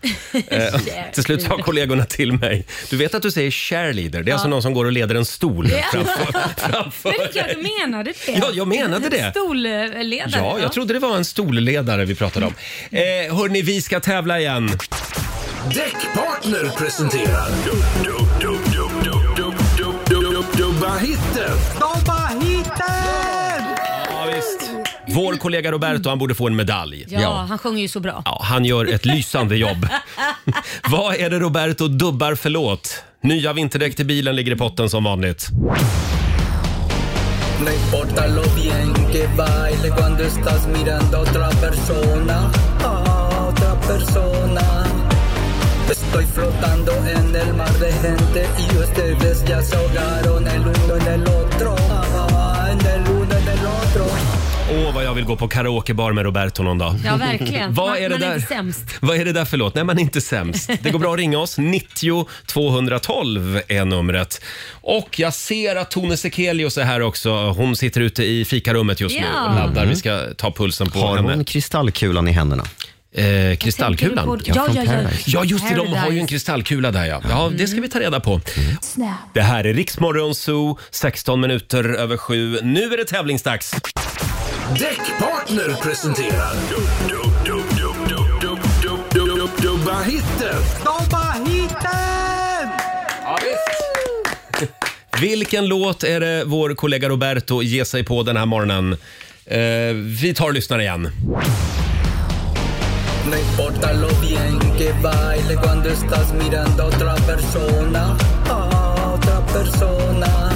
Speaker 1: Eh, till slut sa kollegorna till mig, du vet att du säger Shareleader, det är alltså någon som går och leder en stol framför, framför
Speaker 2: Men det är klart du menade det.
Speaker 1: Ja, jag menade det.
Speaker 2: Stolledare.
Speaker 1: Ja, jag trodde det var en stolledare vi pratade om. Eh, hörni, vi ska tävla igen.
Speaker 4: Däckpartner presenterar... Dub, dub, dub, dub, dub, dub, dub, dub, dub, Dubba hitten!
Speaker 1: Ja, visst. Vår kollega Roberto, han borde få en medalj.
Speaker 2: Ja, han sjunger ju så bra.
Speaker 1: Ja, han gör ett lysande jobb. Vad är det Roberto dubbar för låt? Nya vinterdäck till bilen ligger i potten som vanligt.
Speaker 8: No importa lo bien que baile cuando estás mirando a otra persona, a otra persona. Estoy flotando en el mar de gente y ustedes ya se ahogaron el uno en el otro, ah, en el uno en el otro.
Speaker 1: Åh, vad jag vill gå på karaokebar med Roberto någon dag.
Speaker 2: Ja, verkligen.
Speaker 1: Vad
Speaker 2: man,
Speaker 1: är det
Speaker 2: man
Speaker 1: där?
Speaker 2: är inte sämst.
Speaker 1: Vad är det där för låt? Nej, man är inte sämst. Det går bra att ringa oss. 90 212 är numret. Och jag ser att Tone Sekelius är här också. Hon sitter ute i fikarummet just nu
Speaker 2: Ja. Mm.
Speaker 1: och laddar. Vi ska ta pulsen på
Speaker 3: Har
Speaker 1: henne.
Speaker 3: hon kristallkulan i händerna?
Speaker 1: Eh,
Speaker 2: Tänker
Speaker 1: kristallkulan.
Speaker 2: du på- Ja,
Speaker 3: från
Speaker 2: ja, ja.
Speaker 3: Paradise.
Speaker 1: Ja, just det. De har ju en
Speaker 2: Paradise. Mm.
Speaker 1: kristallkula där ja. Ja, det ska vi ta reda på. Det här är Riksmorgon Zoo, 16 minuter över sju. Nu är det tävlingsdags.
Speaker 4: Däckpartner presenterar... Dub, dub, dub, dub, dub, dub, dub, dub, dub, Dubba hitten!
Speaker 1: Vilken låt är det vår kollega Roberto ger sig på den här morgonen? Eh, vi tar och lyssnar igen.
Speaker 8: No importa lo bien que baile cuando estás mirando a otra persona, a otra persona.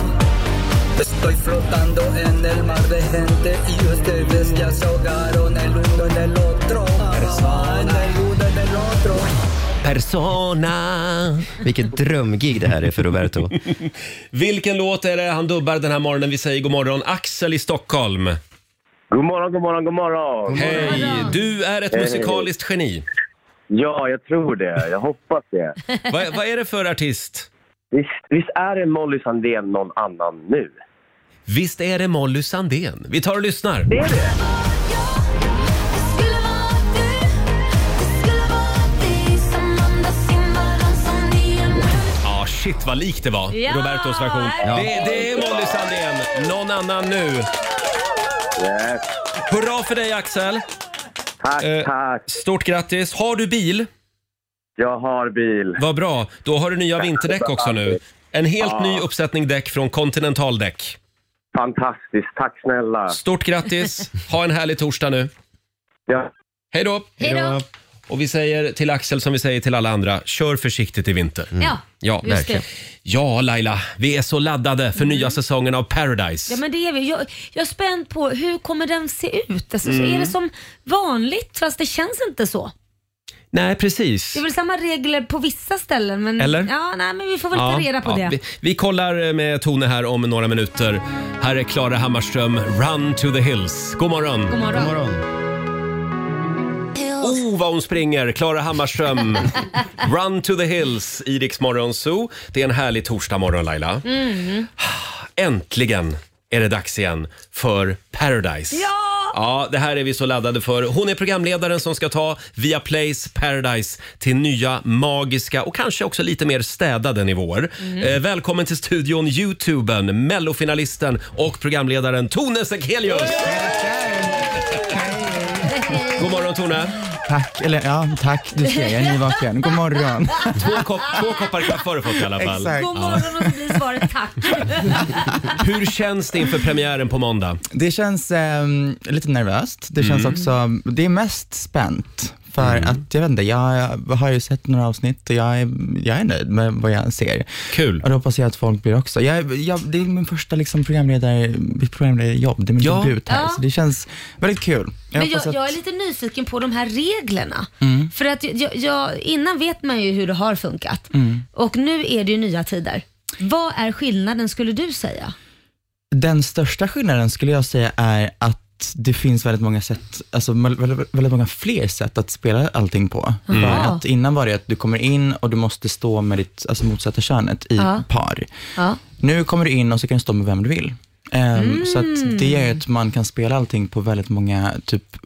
Speaker 8: Estoy flotando en el mar de gente y ustedes ya se ahogaron el uno en el otro. Ah, en el uno en el otro.
Speaker 1: Persona.
Speaker 3: Vilket drömgig det här är för Roberto.
Speaker 1: Vilken låt är det han dubbar den här morgonen? Vi säger god morgon. Axel i Stockholm.
Speaker 10: God morgon, god morgon, god morgon.
Speaker 1: Hej! Du är ett musikaliskt geni.
Speaker 10: Ja, jag tror det. Jag hoppas det.
Speaker 1: Vad, vad är det för artist?
Speaker 10: Visst, visst är det Molly Sandén någon annan nu?
Speaker 1: Visst är det Molly Sandén? Vi tar och lyssnar.
Speaker 10: Det är det.
Speaker 1: Ja, shit vad likt det var.
Speaker 2: Ja!
Speaker 1: Robertos version.
Speaker 2: Ja.
Speaker 1: Det, det är Molly Sandén. Någon annan nu.
Speaker 10: Yes.
Speaker 1: Hurra för dig Axel!
Speaker 10: Tack,
Speaker 1: Eh.
Speaker 10: tack.
Speaker 1: Stort grattis! Har du bil?
Speaker 10: Jag har bil.
Speaker 1: Vad bra. Då har du nya vinterdäck också nu. En helt ny uppsättning däck från Continental Däck.
Speaker 10: Fantastiskt. Tack snälla.
Speaker 1: Stort grattis! Ha en härlig torsdag nu.
Speaker 10: Ja.
Speaker 1: Hej då!
Speaker 2: Hej då.
Speaker 1: Och vi säger till Axel som vi säger till alla andra, kör försiktigt i vinter.
Speaker 2: Ja,
Speaker 1: Ja,
Speaker 2: just
Speaker 1: verkligen.
Speaker 2: det. Mm.
Speaker 1: Ja, Laila, vi är så laddade för nya säsongen av Paradise.
Speaker 2: Ja, men det är vi. Jag, jag är spänd på hur kommer den se ut? Alltså, så
Speaker 1: Mm.
Speaker 2: är det som vanligt fast det känns inte så?
Speaker 1: Nej, precis.
Speaker 2: Det är väl samma regler på vissa ställen men...
Speaker 1: Eller?
Speaker 2: Ja, nej, men vi får väl ta reda på det.
Speaker 1: Vi, vi kollar eh, med Tone här om några minuter. Här är Klara Hammarström, Run to the hills. God morgon!
Speaker 2: God morgon.
Speaker 1: Oh, vad hon springer! Klara Hammarström, Run to the hills, i Rix Morgon Zoo. Det är en härlig torsdagmorgon, Laila. Äntligen är det dags igen för Paradise.
Speaker 2: Ja,
Speaker 1: Ja, det här är vi så laddade för. Hon är programledaren som ska ta via Plays Paradise till nya magiska och kanske också lite mer städade nivåer.
Speaker 11: Mm.
Speaker 1: Eh, välkommen till studion, youtubern, mellofinalisten och programledaren Tone Sekelius! God morgon Tone!
Speaker 12: Tack, eller ja, tack du ser, jag är nyvaken. God morgon.
Speaker 1: Två, kopp, två koppar kaffe har du fått i alla fall.
Speaker 12: Exakt. God
Speaker 1: Ja.
Speaker 2: morgon och så blir svaret tack.
Speaker 1: Hur känns det inför premiären på måndag?
Speaker 12: Det känns ehm, lite nervöst. Det känns
Speaker 1: Mm.
Speaker 12: också, det är mest spänt. För att, jag vet inte, jag har ju sett några avsnitt och jag är, jag är nöjd med vad jag ser.
Speaker 1: Kul.
Speaker 12: Och då hoppas jag att folk blir också. Jag, jag, det är min första liksom programledare, mitt programledarjobb, det är min
Speaker 2: Ja.
Speaker 12: debut här.
Speaker 2: Ja.
Speaker 12: Så det känns väldigt kul. Jag
Speaker 2: Men jag,
Speaker 12: hoppas att,
Speaker 2: jag är lite nyfiken på de här reglerna.
Speaker 12: Mm.
Speaker 2: För att jag, jag, innan vet man ju hur det har funkat
Speaker 12: Mm.
Speaker 2: och nu är det ju nya tider. Vad är skillnaden skulle du säga?
Speaker 12: Den största skillnaden skulle jag säga är att det finns väldigt många sätt, alltså väl- väl- väldigt många fler sätt att spela allting på.
Speaker 11: Mm.
Speaker 12: För
Speaker 11: Ja.
Speaker 12: att innan var det att du kommer in och du måste stå med ditt alltså motsatta könet i
Speaker 11: Ja.
Speaker 12: par.
Speaker 2: Ja.
Speaker 12: Nu kommer du in och så kan du stå med vem du vill. Ehm,
Speaker 11: Mm.
Speaker 12: Så att det gör ju att man kan spela allting på väldigt många typ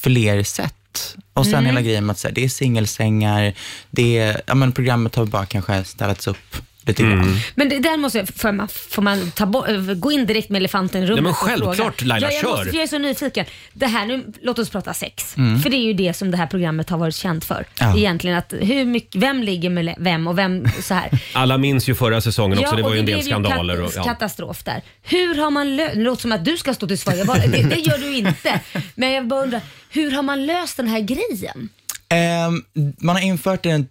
Speaker 12: fler sätt. Och sen
Speaker 11: Mm.
Speaker 12: hela grejen med att så här, det är singelsängar, det är, ja, men programmet har bara kanske ställts upp lite grann.
Speaker 2: Men det där måste jag, får man, får man ta bort, eh, gå in direkt med elefanten i rummet?
Speaker 12: Nej, men
Speaker 2: och fråga?
Speaker 12: självklart, Laila,
Speaker 2: ja, jag
Speaker 12: kör.
Speaker 2: Måste, för jag är så nyfiken. Det här, nu, låt oss prata sex.
Speaker 12: Mm.
Speaker 2: För det är ju det som det här programmet har varit känt för.
Speaker 1: Ja.
Speaker 2: Egentligen att hur mycket, vem ligger med le- vem och vem så här.
Speaker 1: Alla minns ju förra säsongen också, det var
Speaker 2: och
Speaker 1: ju en del
Speaker 2: blev
Speaker 1: skandaler.
Speaker 2: kat-
Speaker 1: Och, ja.
Speaker 2: Katastrof där. Hur har man löst, det låter som att du ska stå till svar, Jag bara, det, det gör du inte. Men jag bara undrar, hur har man löst den här grejen?
Speaker 12: Ehm, man har infört en,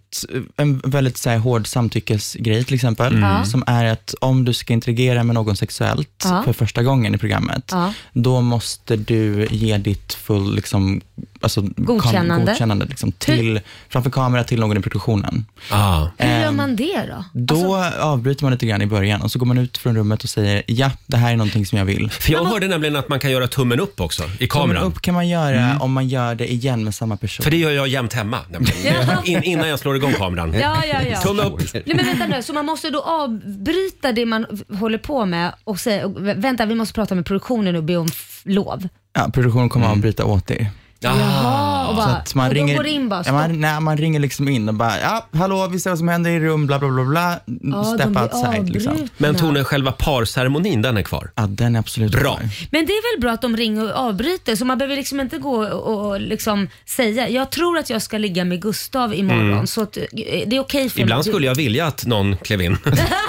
Speaker 12: en väldigt så här, hård samtyckesgrej till exempel,
Speaker 2: Mm. Ja.
Speaker 12: som är att om du ska interagera med någon sexuellt
Speaker 11: Ja.
Speaker 12: för första gången i programmet,
Speaker 11: Ja.
Speaker 12: då måste du ge ditt full, liksom, alltså, kam-
Speaker 2: Godkännande.
Speaker 12: godkännande liksom, till, framför kamera till någon i produktionen.
Speaker 1: Ah.
Speaker 2: Hur gör
Speaker 12: Ehm,
Speaker 2: man det då? Alltså,
Speaker 12: Då avbryter man lite grann i början och så går man ut från rummet och säger ja, det här är någonting som jag vill.
Speaker 1: För jag hörde nämligen att man kan göra tummen upp också i kameran.
Speaker 12: Tummen upp kan man göra
Speaker 1: Mm.
Speaker 12: om man gör det igen med samma person.
Speaker 1: För det gör jag jämt hemma nämligen. In, innan jag slår igång kameran.
Speaker 2: Ja, ja, ja.
Speaker 1: Tumme upp.
Speaker 2: Nej, men vänta nu, så man måste då avbryta det man håller på med och säga och vä- vänta vi måste prata med produktionen och be om f- lov.
Speaker 12: Ja, produktionen kommer
Speaker 1: Mm.
Speaker 12: avbryta åt er.
Speaker 1: Ah,
Speaker 2: Jaha, och bara- och då går det in bara,
Speaker 12: ja, man, nej, man ringer liksom in och bara, ja, hallå, vi ser vad som händer i rum, bla bla bla, bla step
Speaker 2: blir
Speaker 12: outside. Liksom.
Speaker 2: avbrutna.
Speaker 1: Men Tone, själva parceremonin den är kvar?
Speaker 12: Ja, den är absolut
Speaker 1: Bra.
Speaker 2: Men det är väl bra att de ringer och avbryter så man behöver liksom inte gå och, och liksom säga jag tror att jag ska ligga med Gustav imorgon
Speaker 1: Mm.
Speaker 2: så att, eh, det är okej för
Speaker 1: Ibland
Speaker 2: mig.
Speaker 1: skulle jag vilja att någon klev in.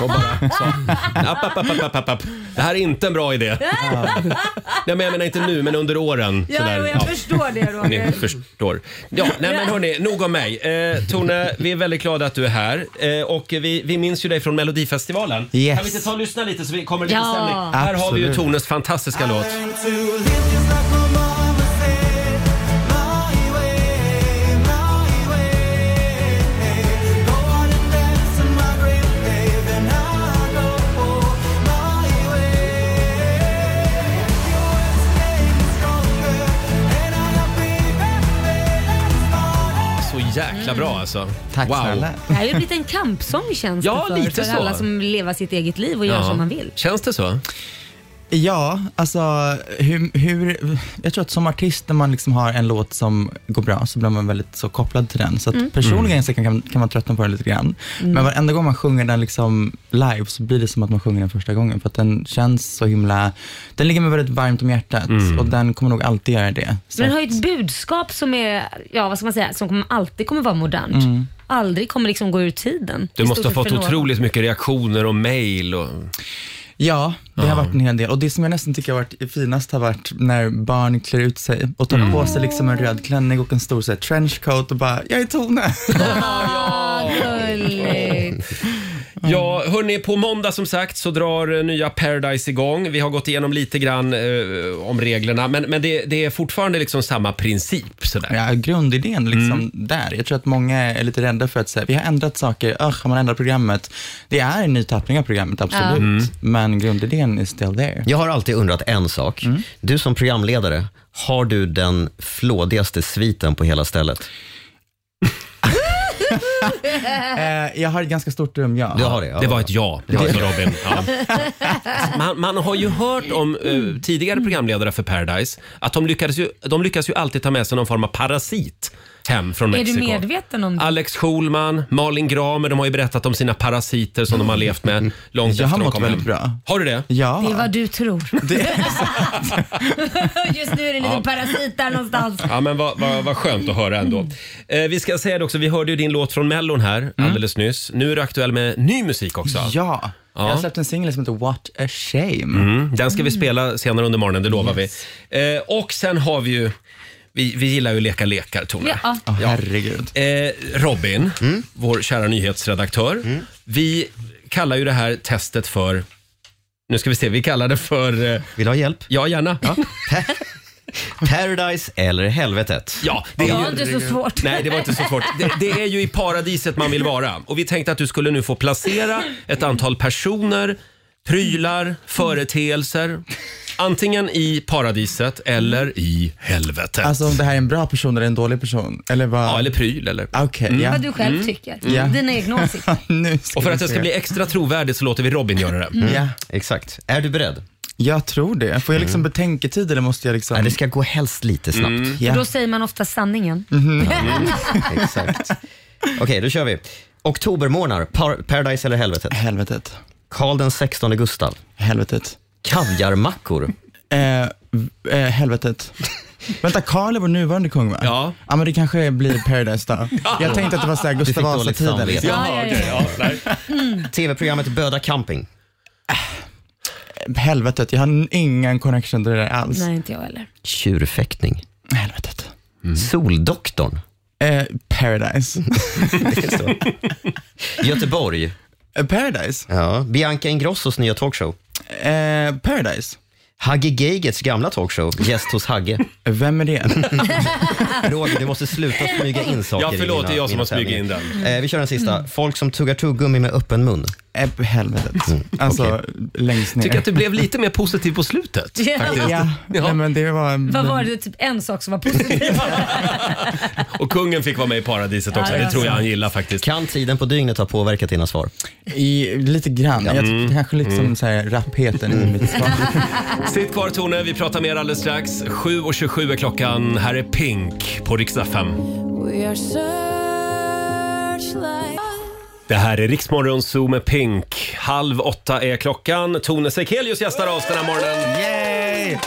Speaker 1: Och bara sa, app, app, app, app, app, app, app. Det här är inte en bra idé. Nej, men jag menar inte nu, men under åren.
Speaker 2: Ja,
Speaker 1: sådär.
Speaker 2: jo, jag förstår det, Roger.
Speaker 1: Ni förstår. Ja, nej, men hörni, nog om mig. Eh, Tone, vi är väldigt glada att du är här. Eh, och vi, vi minns ju dig från Melodifestivalen.
Speaker 11: Yes.
Speaker 1: Kan vi inte ta och lyssna lite så vi kommer lite
Speaker 11: Ja.
Speaker 1: stämning? Här har vi ju
Speaker 11: Absolut.
Speaker 1: Tones fantastiska låt. Så jäkla bra alltså. Tack wow. snälla.
Speaker 2: Det här har ju blivit en kampsång känns
Speaker 1: Ja,
Speaker 2: det för,
Speaker 1: lite
Speaker 2: för
Speaker 1: så.
Speaker 2: alla som lever sitt eget liv och gör som man vill.
Speaker 1: Känns det så?
Speaker 12: Ja, alltså hur, hur, jag tror att som artist när man liksom har en låt som går bra så blir man väldigt så kopplad till den. Så att
Speaker 11: Mm.
Speaker 12: personligen så kan, kan man tröttna på den lite grann.
Speaker 11: Mm.
Speaker 12: Men varenda gång man sjunger den liksom live så blir det som att man sjunger den första gången för att den känns så himla, den ligger mig väldigt varmt om hjärtat och den kommer nog alltid göra det. Så
Speaker 2: Men den har ju ett budskap som är, ja vad ska man säga, som kommer- alltid kommer vara modernt.
Speaker 12: Mm.
Speaker 2: Aldrig kommer liksom gå ur tiden.
Speaker 1: Du
Speaker 2: I
Speaker 1: måste
Speaker 2: stort
Speaker 1: ha
Speaker 2: sett
Speaker 1: fått
Speaker 2: för någon.
Speaker 1: otroligt mycket reaktioner och mejl. Och...
Speaker 12: Ja, det har varit en hel del. Och det som jag nästan tycker har varit finast har varit när barn klär ut sig och tar på sig liksom en röd klänning och en stor så här, trenchcoat och bara, jag är Tone.
Speaker 2: Ah, gulligt.
Speaker 1: Ja, hörni, på måndag som sagt så drar eh, nya Paradise igång. Vi har gått igenom lite grann eh, om reglerna, men, men det, det är fortfarande liksom samma princip. Sådär.
Speaker 12: Ja, grundidén liksom där. Jag tror att många är lite rädda för att säga, vi har ändrat saker, Ugh, har man ändrat programmet? Det är en ny tappning av programmet, absolut.
Speaker 3: Ja. Mm.
Speaker 12: Men grundidén is still there.
Speaker 3: Jag har alltid undrat en sak.
Speaker 12: Mm.
Speaker 3: Du som programledare, har du den flådigaste sviten på hela stället?
Speaker 12: Eh, jag har ett ganska stort rum, ja.
Speaker 1: Du har det, ja. Det var ett ja,
Speaker 12: Det var
Speaker 1: det
Speaker 12: ett
Speaker 1: sa Robin. Ja. Man, man har ju hört om eh, tidigare programledare för Paradise att de lyckades, ju, de lyckas ju alltid ta med sig någon form av parasit hem från
Speaker 2: Är du
Speaker 1: Mexiko.
Speaker 2: medveten om det?
Speaker 1: Alex Schulman, Malin Gramer, de har ju berättat om sina parasiter som de har levt med långt
Speaker 12: Jag har
Speaker 1: efter de
Speaker 12: mått
Speaker 1: kom hem.
Speaker 12: väldigt bra.
Speaker 1: Har du det?
Speaker 12: Ja.
Speaker 2: Det är vad du tror. Just nu är det en liten
Speaker 1: Ja.
Speaker 2: parasit där någonstans.
Speaker 1: Ja, men vad, vad, vad skönt att höra ändå. Eh, vi ska säga det också, vi hörde ju din låt från Mellon här alldeles nyss. Nu är du aktuell med ny musik också.
Speaker 12: Mm. Ja. Jag har släppt en singel som heter What a shame. Mm,
Speaker 1: den ska vi spela senare under morgonen, det lovar vi. Eh, och sen har vi ju, vi, vi gillar ju att leka lekar, Tone.
Speaker 2: Ja.
Speaker 12: Ja. herregud.
Speaker 1: Eh, Robin, vår kära nyhetsredaktör. Vi kallar ju det här testet för, nu ska vi se, vi kallar det för... Eh,
Speaker 3: Vill du ha hjälp?
Speaker 1: Ja, gärna.
Speaker 3: Paradise eller helvetet?
Speaker 1: Ja,
Speaker 2: Det var inte så svårt.
Speaker 1: Nej, det var inte så svårt. Det, det är ju i paradiset man vill vara. Och vi tänkte att du skulle nu få placera ett antal personer, prylar, företeelser. Antingen i paradiset eller i helvetet.
Speaker 12: Alltså om det här är en bra person eller en dålig person? Eller vad? Ja,
Speaker 1: eller pryl eller...
Speaker 12: Okej, ja.
Speaker 1: Mm.
Speaker 2: Vad du själv tycker.
Speaker 12: Ja.
Speaker 2: Dina egna åsikter.
Speaker 12: nu
Speaker 1: Och för att det
Speaker 12: vi
Speaker 1: ska
Speaker 12: se.
Speaker 1: bli extra trovärdigt så låter vi Robin göra det.
Speaker 12: Mm. Ja.
Speaker 3: Exakt. Är du beredd? Mm.
Speaker 12: Jag tror det. Får jag liksom betänketid eller måste jag liksom... Nej, det
Speaker 3: ska gå helst lite
Speaker 12: snabbt.
Speaker 1: Mm.
Speaker 2: För då säger man ofta sanningen.
Speaker 3: Exakt. Okej, då kör vi. Oktobermorgnar, par Paradise eller helvetet?
Speaker 12: Helvetet.
Speaker 3: Karl den 16 Gustav.
Speaker 12: Helvetet.
Speaker 3: Kaviarmackor.
Speaker 12: Eh, v- eh, helvetet. Vänta, Karl är vår nuvarande kung va?
Speaker 1: Ja.
Speaker 12: Ja men det kanske blir Paradise då. Jag tänkte att det var såhär
Speaker 3: Du fick
Speaker 12: Gustav
Speaker 3: dåligt
Speaker 12: Vasa-tiden.
Speaker 3: samvete.
Speaker 12: Liksom.
Speaker 2: Ja, ja, ja.
Speaker 3: TV-programmet Böda camping.
Speaker 12: Helvetet, jag har ingen connection till det där alls.
Speaker 2: Nej, inte jag heller.
Speaker 3: Tjurfäktning.
Speaker 12: Mm. Helvetet.
Speaker 3: Soldoktorn.
Speaker 12: Eh, paradise.
Speaker 3: Göteborg.
Speaker 12: Eh, paradise.
Speaker 3: Ja. Bianca Ingrossos nya talkshow.
Speaker 12: Eh, paradise.
Speaker 3: Hagge Geigerts gamla talkshow, Gäst hos Hagge.
Speaker 12: Vem är det?
Speaker 3: Roger, du måste sluta smyga in saker
Speaker 1: Ja, förlåt,
Speaker 3: i mina,
Speaker 1: det är jag som
Speaker 3: mina
Speaker 1: har smugit in
Speaker 3: tävlingar.
Speaker 1: den.
Speaker 3: Eh, vi kör den sista. Folk som tuggar tuggummi med öppen mun.
Speaker 12: Eh, helvetet.
Speaker 1: Mm.
Speaker 12: Alltså, längst ner.
Speaker 1: Tycker att du blev lite mer positiv på slutet.
Speaker 2: Ja.
Speaker 1: Faktiskt.
Speaker 12: Ja, Nej, men det var...
Speaker 2: Vad var det? Typ en sak som var positiv.
Speaker 1: Och kungen fick vara med i paradiset
Speaker 2: Ja,
Speaker 1: också.
Speaker 2: det var
Speaker 1: Det tror jag
Speaker 2: så.
Speaker 1: han gillar faktiskt.
Speaker 3: Kan tiden på dygnet ha påverkat dina svar?
Speaker 12: I, lite grann. Jag tyckte kanske lite som så här, rappheten i mitt svar.
Speaker 1: Sitt kvar Tone, vi pratar mer alldeles strax. 7.27 är klockan. Här är Pink på riksdag 5. Det här är Riksmorgon Zoo med Pink. Halv åtta är klockan. Tone Sekelius gästar oss den här morgonen.
Speaker 12: Yay!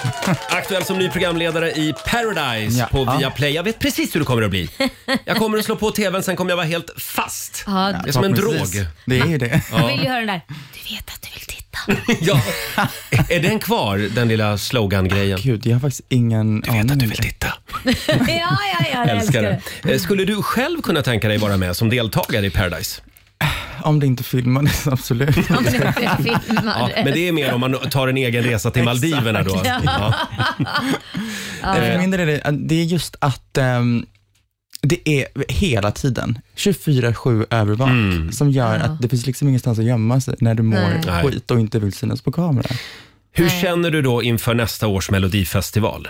Speaker 1: Aktuell som ny programledare i Paradise
Speaker 12: Ja.
Speaker 1: på Viaplay. Jag vet precis hur det kommer att bli. Jag kommer att slå på tvn, sen kommer jag vara helt fast.
Speaker 2: Ja,
Speaker 1: Det är som en
Speaker 12: Förhoppningsvis.
Speaker 1: drog.
Speaker 12: Det är ju det.
Speaker 2: Jag vill ju höra den där. Du vet att du vill titta.
Speaker 1: Ja. Är den kvar, den lilla slogan-grejen?
Speaker 12: Gud, jag har faktiskt ingen du aning.
Speaker 1: Vet att du
Speaker 12: om
Speaker 1: vill
Speaker 12: det.
Speaker 1: titta.
Speaker 2: Ja, ja, ja. Jag
Speaker 1: Älskar det. Eh, Skulle du själv kunna tänka dig vara med som deltagare i Paradise?
Speaker 12: Om det inte filmades, absolut.
Speaker 2: Om ni inte
Speaker 1: Ja,
Speaker 2: filmar det.
Speaker 1: men det är mer om man tar en egen resa till Maldiverna då.
Speaker 2: Ja.
Speaker 1: Ja.
Speaker 12: För min del är det, det är just att ehm, det är hela tiden 24-7 övervakt som gör att det finns liksom ingenstans att gömma sig när du mår
Speaker 1: Nej.
Speaker 12: skit och inte vill synas på kamera.
Speaker 1: Hur känner du då inför nästa års melodifestival?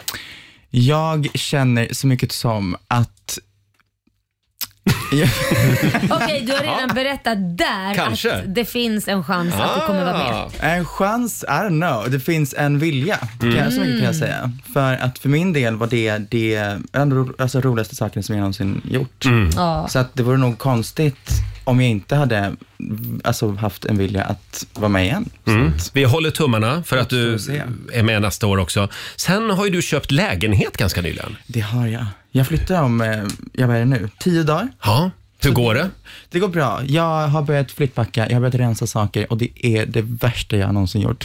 Speaker 12: Jag känner så mycket som att
Speaker 2: Okej, du har redan berättat där
Speaker 1: Kanske.
Speaker 2: att det finns en chans att du kommer vara
Speaker 1: Ah.
Speaker 2: med.
Speaker 12: En chans, I don't know. Det finns en vilja, kan jag, så mycket kan jag säga. För att för min del var det, det en av de ro- alltså, roligaste saken som jag någonsin gjort.
Speaker 2: Ja.
Speaker 12: Så att det vore nog konstigt om jag inte hade alltså, haft en vilja att vara med igen. Så att,
Speaker 1: Vi håller tummarna för att du
Speaker 12: Får se.
Speaker 1: är med nästa år också. Sen har ju du köpt lägenhet ganska nyligen.
Speaker 12: det har jag. Jag flyttar om, eh, jag vad är det nu, tio dagar.
Speaker 1: Ja, hur går det?
Speaker 12: Det går bra. Jag har börjat flyttpacka, jag har börjat rensa saker och det är det värsta jag någonsin gjort.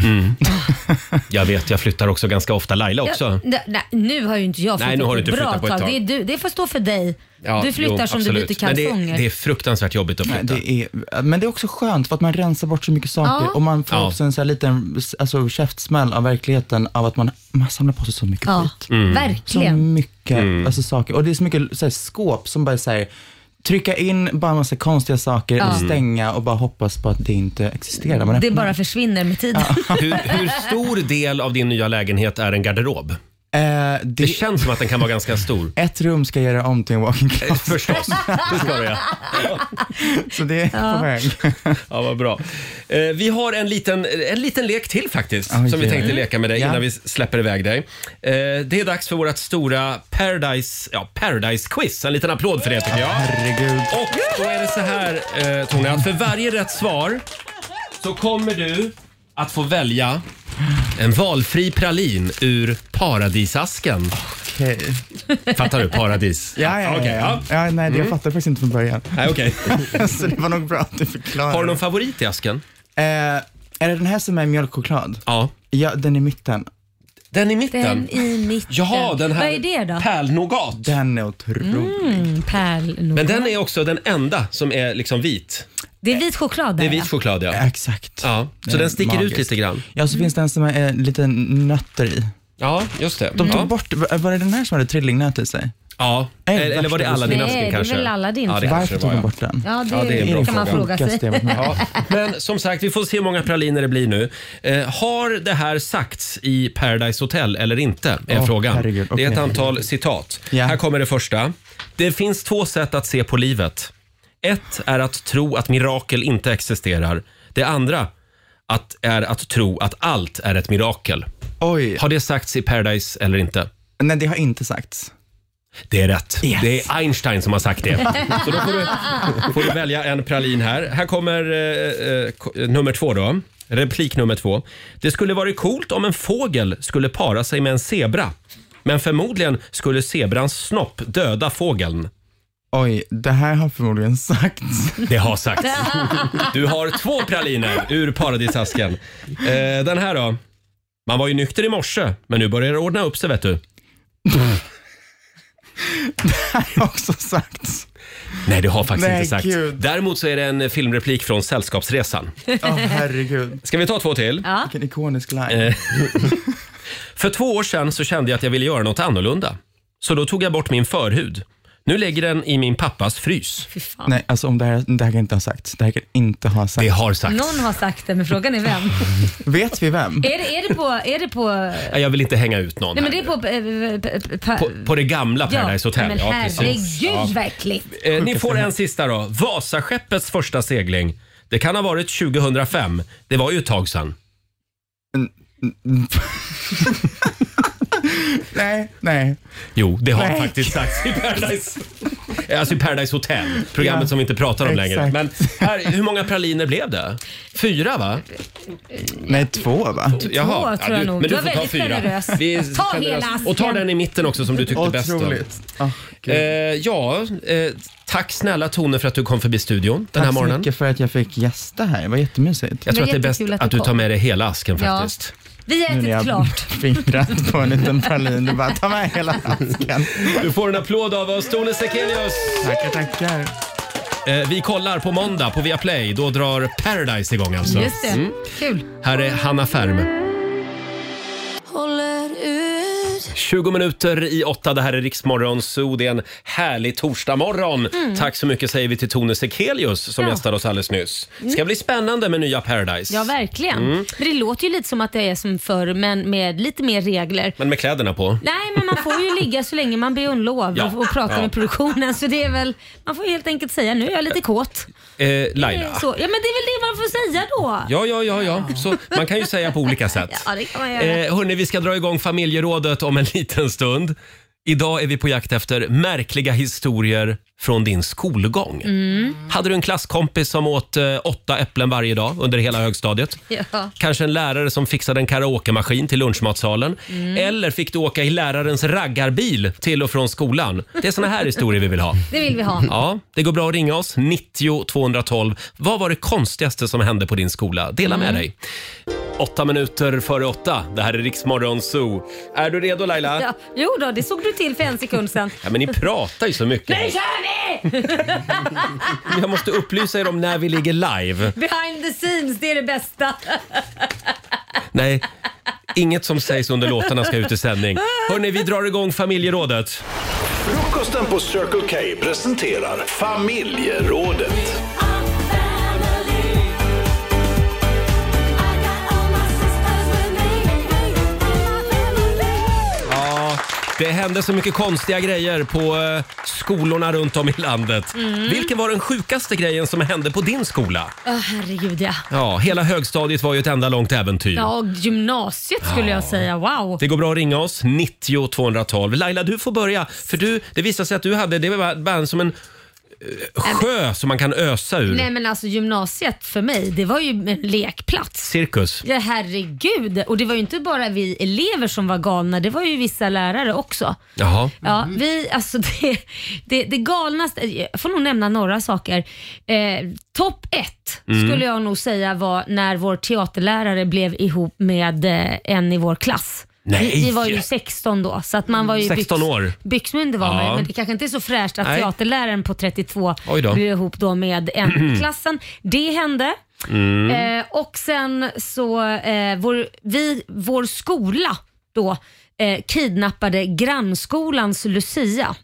Speaker 1: Jag vet, jag flyttar också ganska ofta. Laila också.
Speaker 2: Ja, nej, nu har ju inte jag
Speaker 1: Nej, nu har du inte
Speaker 2: ett
Speaker 1: flyttat
Speaker 2: bra
Speaker 1: på ett tag.
Speaker 2: Det, är du, det får stå för dig.
Speaker 1: Ja,
Speaker 2: du flyttar
Speaker 1: jo,
Speaker 2: som du
Speaker 1: absolut.
Speaker 2: byter
Speaker 1: Men det,
Speaker 2: kalsonger.
Speaker 1: det är fruktansvärt jobbigt att
Speaker 12: Nej,
Speaker 1: flytta.
Speaker 12: Eh, Det är, men det är också skönt för att man rensar bort så mycket saker
Speaker 2: Ja.
Speaker 12: och man får
Speaker 1: Ja.
Speaker 12: också en så här liten alltså, käftsmäll av verkligheten av att man, man samlar på sig så mycket
Speaker 2: ja,
Speaker 12: skit.
Speaker 1: mm.
Speaker 12: Så
Speaker 2: verkligen.
Speaker 12: mycket alltså, saker. Och det är så mycket så här, skåp som bara så här, trycka in bara en massa konstiga saker och
Speaker 1: Mm.
Speaker 12: stänga och bara hoppas på att det inte existerar. Man
Speaker 2: Det
Speaker 12: öppnar-
Speaker 2: bara försvinner med tiden.
Speaker 1: Hur, hur stor del av din nya lägenhet är en garderob?
Speaker 12: eh, det...
Speaker 1: känns som att den kan vara ganska stor.
Speaker 12: Ett rum ska göra om till en walking closet.
Speaker 1: Eh, Förstås, det ska det ja.
Speaker 12: Så det är
Speaker 1: Ja.
Speaker 12: på väg.
Speaker 1: Ja, vad bra. Eh, vi har en liten, en liten lek till faktiskt,
Speaker 12: Oj,
Speaker 1: som vi
Speaker 12: oj,
Speaker 1: tänkte
Speaker 12: oj.
Speaker 1: leka med dig
Speaker 12: Ja.
Speaker 1: innan vi släpper iväg dig. Eh, det är dags för vårt stora Paradise, ja, Paradise-quiz. En liten applåd för det tycker jag.
Speaker 12: Herregud.
Speaker 1: Och då är det så här, eh, Tony, att för varje rätt svar så kommer du att få välja en valfri pralin ur paradisasken.
Speaker 12: Okej.
Speaker 1: Fattar du? Paradis.
Speaker 12: Ja, ja, ja.
Speaker 1: Okej,
Speaker 12: ja. ja nej, det
Speaker 1: Mm.
Speaker 12: jag fattade faktiskt inte från början.
Speaker 1: Nej, okej.
Speaker 12: Så det var nog bra att du förklarade.
Speaker 1: Har du någon favorit i asken?
Speaker 12: Eh, är det den här som är mjölkchoklad?
Speaker 1: Ja.
Speaker 12: Ja, den i mitten.
Speaker 1: Den i
Speaker 2: Den i mitten.
Speaker 1: Jaha, den här
Speaker 2: Vad är det då?
Speaker 1: Pärlnougat.
Speaker 12: Den är otrolig.
Speaker 2: Mm, pärl
Speaker 1: Men den är också den enda som är liksom vit.
Speaker 2: Det är vit choklad
Speaker 1: Det är
Speaker 2: där,
Speaker 1: vit choklad, ja.
Speaker 12: Exakt.
Speaker 1: Ja, så
Speaker 12: Det är
Speaker 1: den sticker ut
Speaker 12: magiskt.
Speaker 1: lite grann.
Speaker 12: Ja, så finns det en som är eh, lite nötter i.
Speaker 1: Ja, just det.
Speaker 12: De tog
Speaker 1: Mm. ja.
Speaker 12: bort, var var det den här som hade trillingnöt i sig?
Speaker 1: Ja,
Speaker 12: Nej,
Speaker 1: eller eller var det
Speaker 12: värsta
Speaker 1: Aladdin-asken
Speaker 2: Nej, det är
Speaker 1: kanske?
Speaker 2: väl Aladdin,
Speaker 1: Ja, det
Speaker 2: tror jag.
Speaker 1: kanske
Speaker 12: Varför tog
Speaker 1: det
Speaker 12: de
Speaker 1: var,
Speaker 12: bort den?
Speaker 2: Ja, det,
Speaker 1: Ja, det är en bra
Speaker 2: kan man
Speaker 1: fråga.
Speaker 2: fråga sig.
Speaker 1: Ja. Men som sagt, vi får se hur många praliner det blir nu. Eh, har det här sagts i Paradise Hotel eller inte? Är
Speaker 12: Åh,
Speaker 1: frågan.
Speaker 12: herregud,
Speaker 1: Det är ett
Speaker 12: okej.
Speaker 1: antal citat. Här kommer det första. Det finns två sätt att se på livet. Ett är att tro att mirakel inte existerar. Det andra att, är att tro att allt är ett mirakel.
Speaker 12: Oj.
Speaker 1: Har det sagts i Paradise eller inte?
Speaker 12: Nej, det har inte sagts.
Speaker 1: Det är rätt.
Speaker 12: Yes.
Speaker 1: Det är Einstein som har sagt det. Så då får du, får du välja en pralin här. Här kommer eh, eh, k- eh, nummer två då. Replik nummer två. Det skulle varit coolt om en fågel skulle para sig med en zebra. Men förmodligen skulle zebrans snopp döda fågeln.
Speaker 12: Oj, det här har förmodligen sagts.
Speaker 1: Det har sagts. Du har två praliner ur paradisasken. Eh, den här då. Man var ju nykter i morse, men nu börjar det ordna upp sig vet du.
Speaker 12: Det har också sagts.
Speaker 1: Nej, det har faktiskt
Speaker 12: Nej,
Speaker 1: inte sagt.
Speaker 12: gud.
Speaker 1: Däremot så är det en filmreplik från Sällskapsresan.
Speaker 12: Åh, herregud.
Speaker 1: Ska vi ta två till?
Speaker 2: Ja.
Speaker 12: Vilken ikonisk line.
Speaker 1: Eh, För två år sedan så kände jag att jag ville göra något annorlunda. Så då tog jag bort min förhud. Nu ligger den i min pappas frys.
Speaker 2: Fy fan.
Speaker 12: Nej, alltså om det här, det här kan inte ha sagts. Det här kan inte ha sagts.
Speaker 1: Det har sagts.
Speaker 2: Någon har sagt det, men frågan är vem.
Speaker 12: Vet vi vem?
Speaker 2: är, det, är det på... Är det på
Speaker 1: Nej, Jag vill inte hänga ut någon
Speaker 2: nej, men det
Speaker 1: här.
Speaker 2: är på... eh, pa- pa-
Speaker 1: På, på det gamla
Speaker 2: ja,
Speaker 1: Paradise Hotel.
Speaker 2: men
Speaker 1: Ja, precis.
Speaker 2: herregud
Speaker 1: Ja.
Speaker 2: vad äckligt.
Speaker 1: Eh, Ni får en sista då. Vasaskeppets första segling. Det kan ha varit 2005. Det var ju ett tag sedan.
Speaker 12: Nej, nej.
Speaker 1: Jo, det har
Speaker 12: Nej.
Speaker 1: faktiskt sagts i Paradise, alltså i Paradise Hotel, programmet
Speaker 12: Ja,
Speaker 1: som vi inte pratar om längre.
Speaker 12: exakt.
Speaker 1: Men här, hur många praliner blev det? Fyra va?
Speaker 12: Nej, två va?
Speaker 2: Två tror jag
Speaker 1: du, Men
Speaker 2: nog.
Speaker 1: du,
Speaker 2: Du
Speaker 1: får
Speaker 2: var
Speaker 1: ta
Speaker 2: väldigt
Speaker 1: fyra.
Speaker 2: generös.
Speaker 1: Vi-
Speaker 2: Ta
Speaker 1: generös.
Speaker 2: hela asken.
Speaker 1: Och ta den i mitten också som du tyckte bäst om.
Speaker 12: Otroligt. Ah,
Speaker 1: Eh,
Speaker 12: gud.
Speaker 1: ja, eh, tack snälla Tone för att du kom förbi studion den här
Speaker 12: Tack så
Speaker 1: morgonen.
Speaker 12: mycket för att jag fick gästa här. Det var jättemysigt.
Speaker 1: Jag tror att det
Speaker 2: Det var
Speaker 1: är bäst
Speaker 2: jättekul
Speaker 1: att,
Speaker 2: att du
Speaker 1: du tar
Speaker 2: kom.
Speaker 1: med dig hela asken
Speaker 2: Ja.
Speaker 1: faktiskt.
Speaker 2: Vi har
Speaker 12: Nu när
Speaker 2: ätit
Speaker 12: jag
Speaker 2: klart.
Speaker 12: fingrat på en liten pralin. Du bara, ta med hela asken.
Speaker 1: Du får en applåd av oss, Tone Sekelius!
Speaker 12: Tackar, tackar.
Speaker 1: Eh, vi kollar på måndag på Viaplay. Då drar Paradise igång alltså.
Speaker 2: Just det.
Speaker 1: Mm.
Speaker 2: Kul.
Speaker 1: Här är Hanna Färm. 20 minuter i åtta. Det här är Riksmorgon Zoo. Det är en härlig torsdagmorgon. Tack så mycket säger vi till Tone Sekelius som
Speaker 2: Mm. Ja. Mm.
Speaker 1: gästade oss alldeles nyss. Det ska bli spännande med nya Paradise.
Speaker 2: Ja, verkligen.
Speaker 1: Mm.
Speaker 2: Men det låter ju lite som att det är som förr, men med lite mer regler.
Speaker 1: Men med kläderna på.
Speaker 2: Nej, men man får ju ligga så länge man ber om lov
Speaker 1: Ja.
Speaker 2: och, och prata
Speaker 1: Ja.
Speaker 2: med produktionen. Så det är väl, man får ju helt enkelt säga nu är jag lite kåt.
Speaker 1: Eh, Laila.
Speaker 2: Så, ja, men det är väl det man får säga då.
Speaker 1: Ja, ja, ja, ja. Så man kan ju säga på olika sätt.
Speaker 2: Ja, det kan man göra.
Speaker 1: Eh, hörni, vi ska dra igång familjerådet om en liten stund. Idag är vi på jakt efter märkliga historier från din skolgång.
Speaker 2: Mm.
Speaker 1: Hade du en klasskompis som åt eh, åtta äpplen varje dag under hela högstadiet?
Speaker 2: Ja.
Speaker 1: Kanske en lärare som fixade en karaokemaskin till lunchmatsalen.
Speaker 2: Mm.
Speaker 1: Eller fick du åka i lärarens raggarbil till och från skolan? Det är såna här historier vi vill ha.
Speaker 2: Det vill vi ha.
Speaker 1: Ja, det går bra att ringa oss. 90 212. Vad var det konstigaste som hände på din skola? Dela med dig. Åtta minuter före åtta. Det här är Riksmorgon Zoo. Är du redo Laila? Ja.
Speaker 2: Ja. Jo då, det såg du till för en sekund sedan.
Speaker 1: men ni pratar ju så mycket.
Speaker 2: Nu kör vi!
Speaker 1: Jag måste upplysa er om när vi ligger live.
Speaker 2: Behind the scenes, det är det bästa.
Speaker 1: Nej, inget som sägs under låtarna ska ut i sändning. Hörni, vi drar igång familjerådet.
Speaker 4: Frukosten på Circle K presenterar familjerådet.
Speaker 1: Ja, Det hände så mycket konstiga grejer på eh, skolorna runt om i landet.
Speaker 2: Mm.
Speaker 1: Vilken var den sjukaste grejen som hände på din skola?
Speaker 2: Ja, herregud ja.
Speaker 1: Ja, hela högstadiet var ju ett enda långt äventyr.
Speaker 2: Ja, och gymnasiet skulle jag säga. Wow.
Speaker 1: Det går bra att ringa oss, 90 212. Laila, du får börja. För du, det visade sig att du hade, det var bara som en eh, sjö som man kan ösa ur.
Speaker 2: Nej men alltså gymnasiet för mig, det var ju en lekplats.
Speaker 1: Cirkus.
Speaker 2: Ja, herregud. Och det var ju inte bara vi elever som var galna, det var ju vissa lärare också.
Speaker 1: Jaha.
Speaker 2: Ja, vi, alltså det, det, det galnaste, jag får nog nämna några saker. Eh, Topp ett
Speaker 11: Mm.
Speaker 2: skulle jag nog säga var när vår teaterlärare blev ihop med eh, en i vår klass.
Speaker 1: Nej.
Speaker 2: Vi, vi var ju eh, 16 då, så att man var ju
Speaker 1: 16 år.
Speaker 2: byxmyndig var man ju,
Speaker 1: Ja.
Speaker 2: men det kanske inte är så fräscht att
Speaker 1: Nej.
Speaker 2: teaterläraren på 32
Speaker 1: Oj då.
Speaker 2: blev ihop då med en i klassen. Det hände.
Speaker 1: Mm.
Speaker 2: Eh, och sen så, eh, vår, vi, vår skola då eh, kidnappade grannskolans Lucia.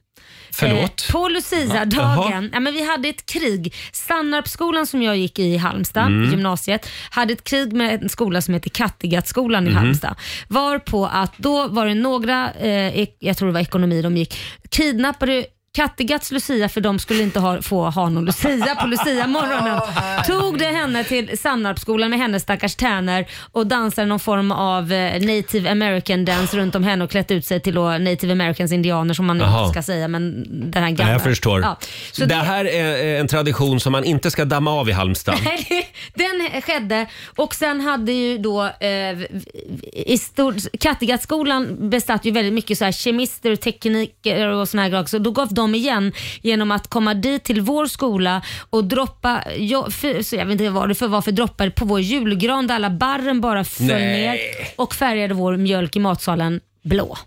Speaker 1: Förlåt?
Speaker 2: Eh, på
Speaker 1: Jaha.
Speaker 2: Lucia-dagen, ja, men vi hade ett krig. Sannarpsskolan som jag gick i i Halmstad,
Speaker 11: Mm.
Speaker 2: gymnasiet, hade ett krig med en skola som heter Kattegattskolan i
Speaker 11: Mhm.
Speaker 2: Halmstad. Var på att då var det några, eh, ek- jag tror det var ekonomi de gick, kidnappade Kattegats Lucia för de skulle inte ha, få ha någon Lucia på Lucia morgonen. Tog det henne till Sannarpsskolan med hennes stackars tärnor och dansade någon form av eh, native american dance runt om henne och klätt ut sig till då native americans indianer som man nu
Speaker 1: Jaha.
Speaker 2: inte ska säga men den här
Speaker 1: Ja,
Speaker 2: gamla.
Speaker 1: jag förstår.
Speaker 2: Ja. Så
Speaker 1: det, här är eh, en tradition som man inte ska damma av i Halmstad.
Speaker 2: Nej, den skedde och sen hade ju då eh, i stor, Kattegattskolan besatt ju väldigt mycket så här kemister och tekniker och såna här grejer också. Då gav de igen genom att komma dit till vår skola och droppa, ja, för, så jag vet inte vad det för, var för droppar på vår julgran där alla barren bara föll
Speaker 1: Nej.
Speaker 2: ner och färgade vår mjölk i matsalen blå.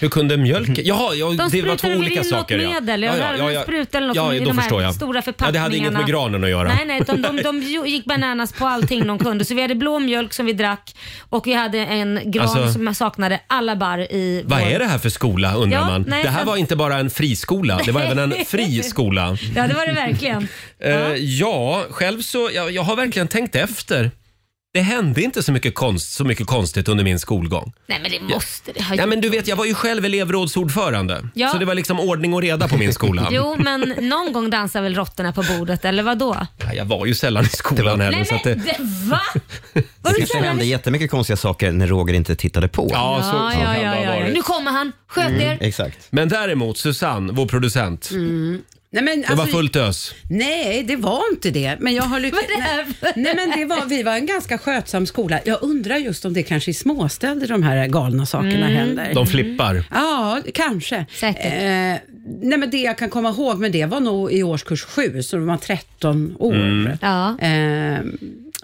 Speaker 1: Hur kunde mjölk... Jaha, ja,
Speaker 2: De
Speaker 1: det var två
Speaker 2: sprutade väl
Speaker 1: olika
Speaker 2: in något
Speaker 1: saker.
Speaker 2: medel, jag rörde en spruta eller något
Speaker 1: ja,
Speaker 2: i
Speaker 1: då
Speaker 2: de här
Speaker 1: förstår jag.
Speaker 2: stora
Speaker 1: Ja, det hade inget
Speaker 2: förpackningarna.
Speaker 1: med granen att göra.
Speaker 2: Nej, nej, utan de, de ju- gick bananas på allting de kunde. Så vi hade blå mjölk som vi drack och vi hade en gran
Speaker 1: Alltså-
Speaker 2: som saknade alla barr i
Speaker 1: Vad
Speaker 2: vår-
Speaker 1: är det här för skola undrar
Speaker 2: Ja,
Speaker 1: man?
Speaker 2: nej,
Speaker 1: det här
Speaker 2: men-
Speaker 1: var inte bara en friskola, det var även en fri skola.
Speaker 2: Ja, det var det verkligen.
Speaker 1: Eh, ja, själv så, jag, jag har verkligen tänkt efter. Det hände inte så mycket, konst, så mycket konstigt under min skolgång.
Speaker 2: Nej, men det måste det ha
Speaker 1: Ja,
Speaker 2: gjort.
Speaker 1: men du vet, jag var ju själv elevrådsordförande,
Speaker 2: Ja.
Speaker 1: så det var liksom ordning och reda på min skola.
Speaker 2: Jo, men någon gång dansar väl råttorna på bordet, eller vad då?
Speaker 1: Ja, Jag var ju sällan i skolan heller.
Speaker 2: Nej,
Speaker 1: Så
Speaker 2: men
Speaker 1: att det...
Speaker 2: det, va?
Speaker 3: Det
Speaker 2: Var du
Speaker 3: kanske hände
Speaker 2: sällan i-
Speaker 3: jättemycket konstiga saker när Roger inte tittade på.
Speaker 1: Ja, så- så kan det ha varit. Mm.
Speaker 2: Nu kommer han, sköt er.
Speaker 3: Exakt.
Speaker 1: Men däremot Susanne, vår producent,
Speaker 6: Mm. Nej, men,
Speaker 1: det var
Speaker 6: alltså-
Speaker 1: fullt ös.
Speaker 6: Nej, det var inte det. Men jag har lyckats... nej, nej, men det var, vi var en ganska skötsam skola. Jag undrar just om det kanske är småstäder de här galna sakerna
Speaker 1: Mm.
Speaker 6: händer.
Speaker 1: De flippar.
Speaker 6: Ja, kanske. Eh, nej, men det jag kan komma ihåg med det var nog i årskurs sju, så de var 13 år.
Speaker 11: Mm.
Speaker 6: Eh,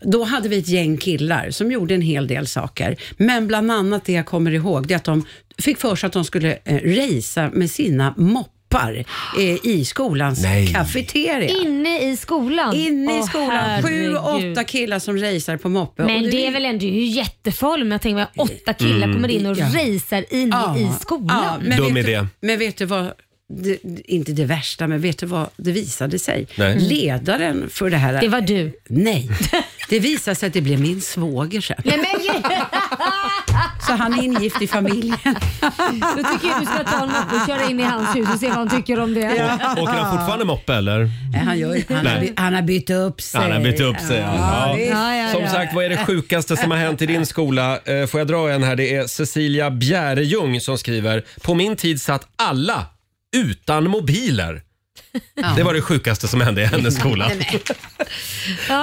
Speaker 6: då hade vi ett gäng killar som gjorde en hel del saker. Men bland annat det jag kommer ihåg, det är att de fick för sig att de skulle eh, racea med sina moppar eh, i skolans
Speaker 11: Nej.
Speaker 6: kafeteria.
Speaker 2: Inne i skolan?
Speaker 6: Inne i
Speaker 2: Åh,
Speaker 6: skolan. Sju,
Speaker 2: herregud.
Speaker 6: åtta killar som racear på moppe. Och
Speaker 2: Men det är väl ändå det är ju jättefarligt om jag tänker mig att åtta killar
Speaker 6: Mm.
Speaker 2: kommer in och
Speaker 6: Ja.
Speaker 2: racear in
Speaker 6: Ja,
Speaker 2: i skolan.
Speaker 6: men
Speaker 1: Dum
Speaker 6: vet
Speaker 1: idé.
Speaker 6: Du, men vet du vad, det, inte det värsta, men vet du vad det visade sig?
Speaker 1: Nej. Mm.
Speaker 6: Ledaren för det här...
Speaker 2: Det var du.
Speaker 6: Nej, det visade sig att det blev min svåger sen.
Speaker 2: Nej, men,
Speaker 6: Så han är ingift i familjen.
Speaker 2: då tycker jag du ska ta en moppe och köra in i hans hus och se vad han tycker om det.
Speaker 1: Å- Åker han fortfarande moppe eller?
Speaker 6: Nej, Eh, Han, gör, han, har,
Speaker 1: Nej.
Speaker 6: by- han har bytt upp sig.
Speaker 1: Han har bytt upp sig. Ja,
Speaker 6: visst.
Speaker 1: Som sagt, vad är det sjukaste som har hänt i din skola? Eh, Får jag dra en här? Det är Cecilia Bjärejung som skriver. På min tid satt alla utan mobiler. Det var det sjukaste som hände i hennes skola.
Speaker 2: Ja,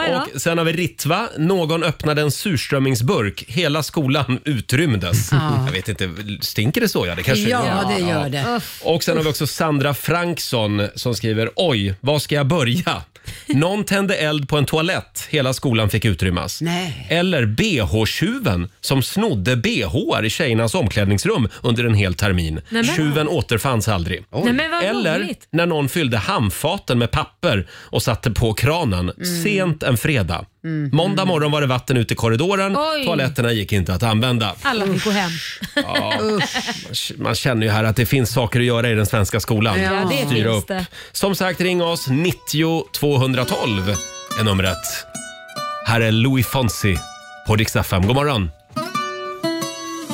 Speaker 2: ja.
Speaker 1: Och sen har vi Ritva. Någon öppnade en surströmmingsburk. Hela skolan utrymdes.
Speaker 6: Ja.
Speaker 1: Jag vet inte, stinker det så? Ja, det kanske
Speaker 6: Ja, det gör det.
Speaker 1: Och sen har vi också Sandra Franksson som skriver “Oj, var ska jag börja?” Någon tände eld på en toalett. Hela skolan fick utrymmas.
Speaker 6: Nej.
Speaker 1: Eller bh-tjuven som snodde bh i tjejernas omklädningsrum under en hel termin.
Speaker 2: Nej, men-
Speaker 1: Tjuven återfanns aldrig.
Speaker 2: Oj. Nej, men vad
Speaker 1: Eller
Speaker 2: roligt.
Speaker 1: när någon fyllde handfaten med papper och satte på kranen
Speaker 2: Mm.
Speaker 1: sent en fredag.
Speaker 2: Mm.
Speaker 1: Måndag morgon var det vatten ute i korridoren.
Speaker 2: Oj.
Speaker 1: Toaletterna gick inte att använda.
Speaker 2: Alla fick gå hem.
Speaker 1: Man känner ju här att det finns saker att göra i den svenska skolan.
Speaker 2: Ja, det
Speaker 1: Styra
Speaker 2: finns
Speaker 1: upp.
Speaker 2: det.
Speaker 1: Som sagt, ring oss. 90 212 är numret. Här är Louis Fonsi på Dix FM. God morgon!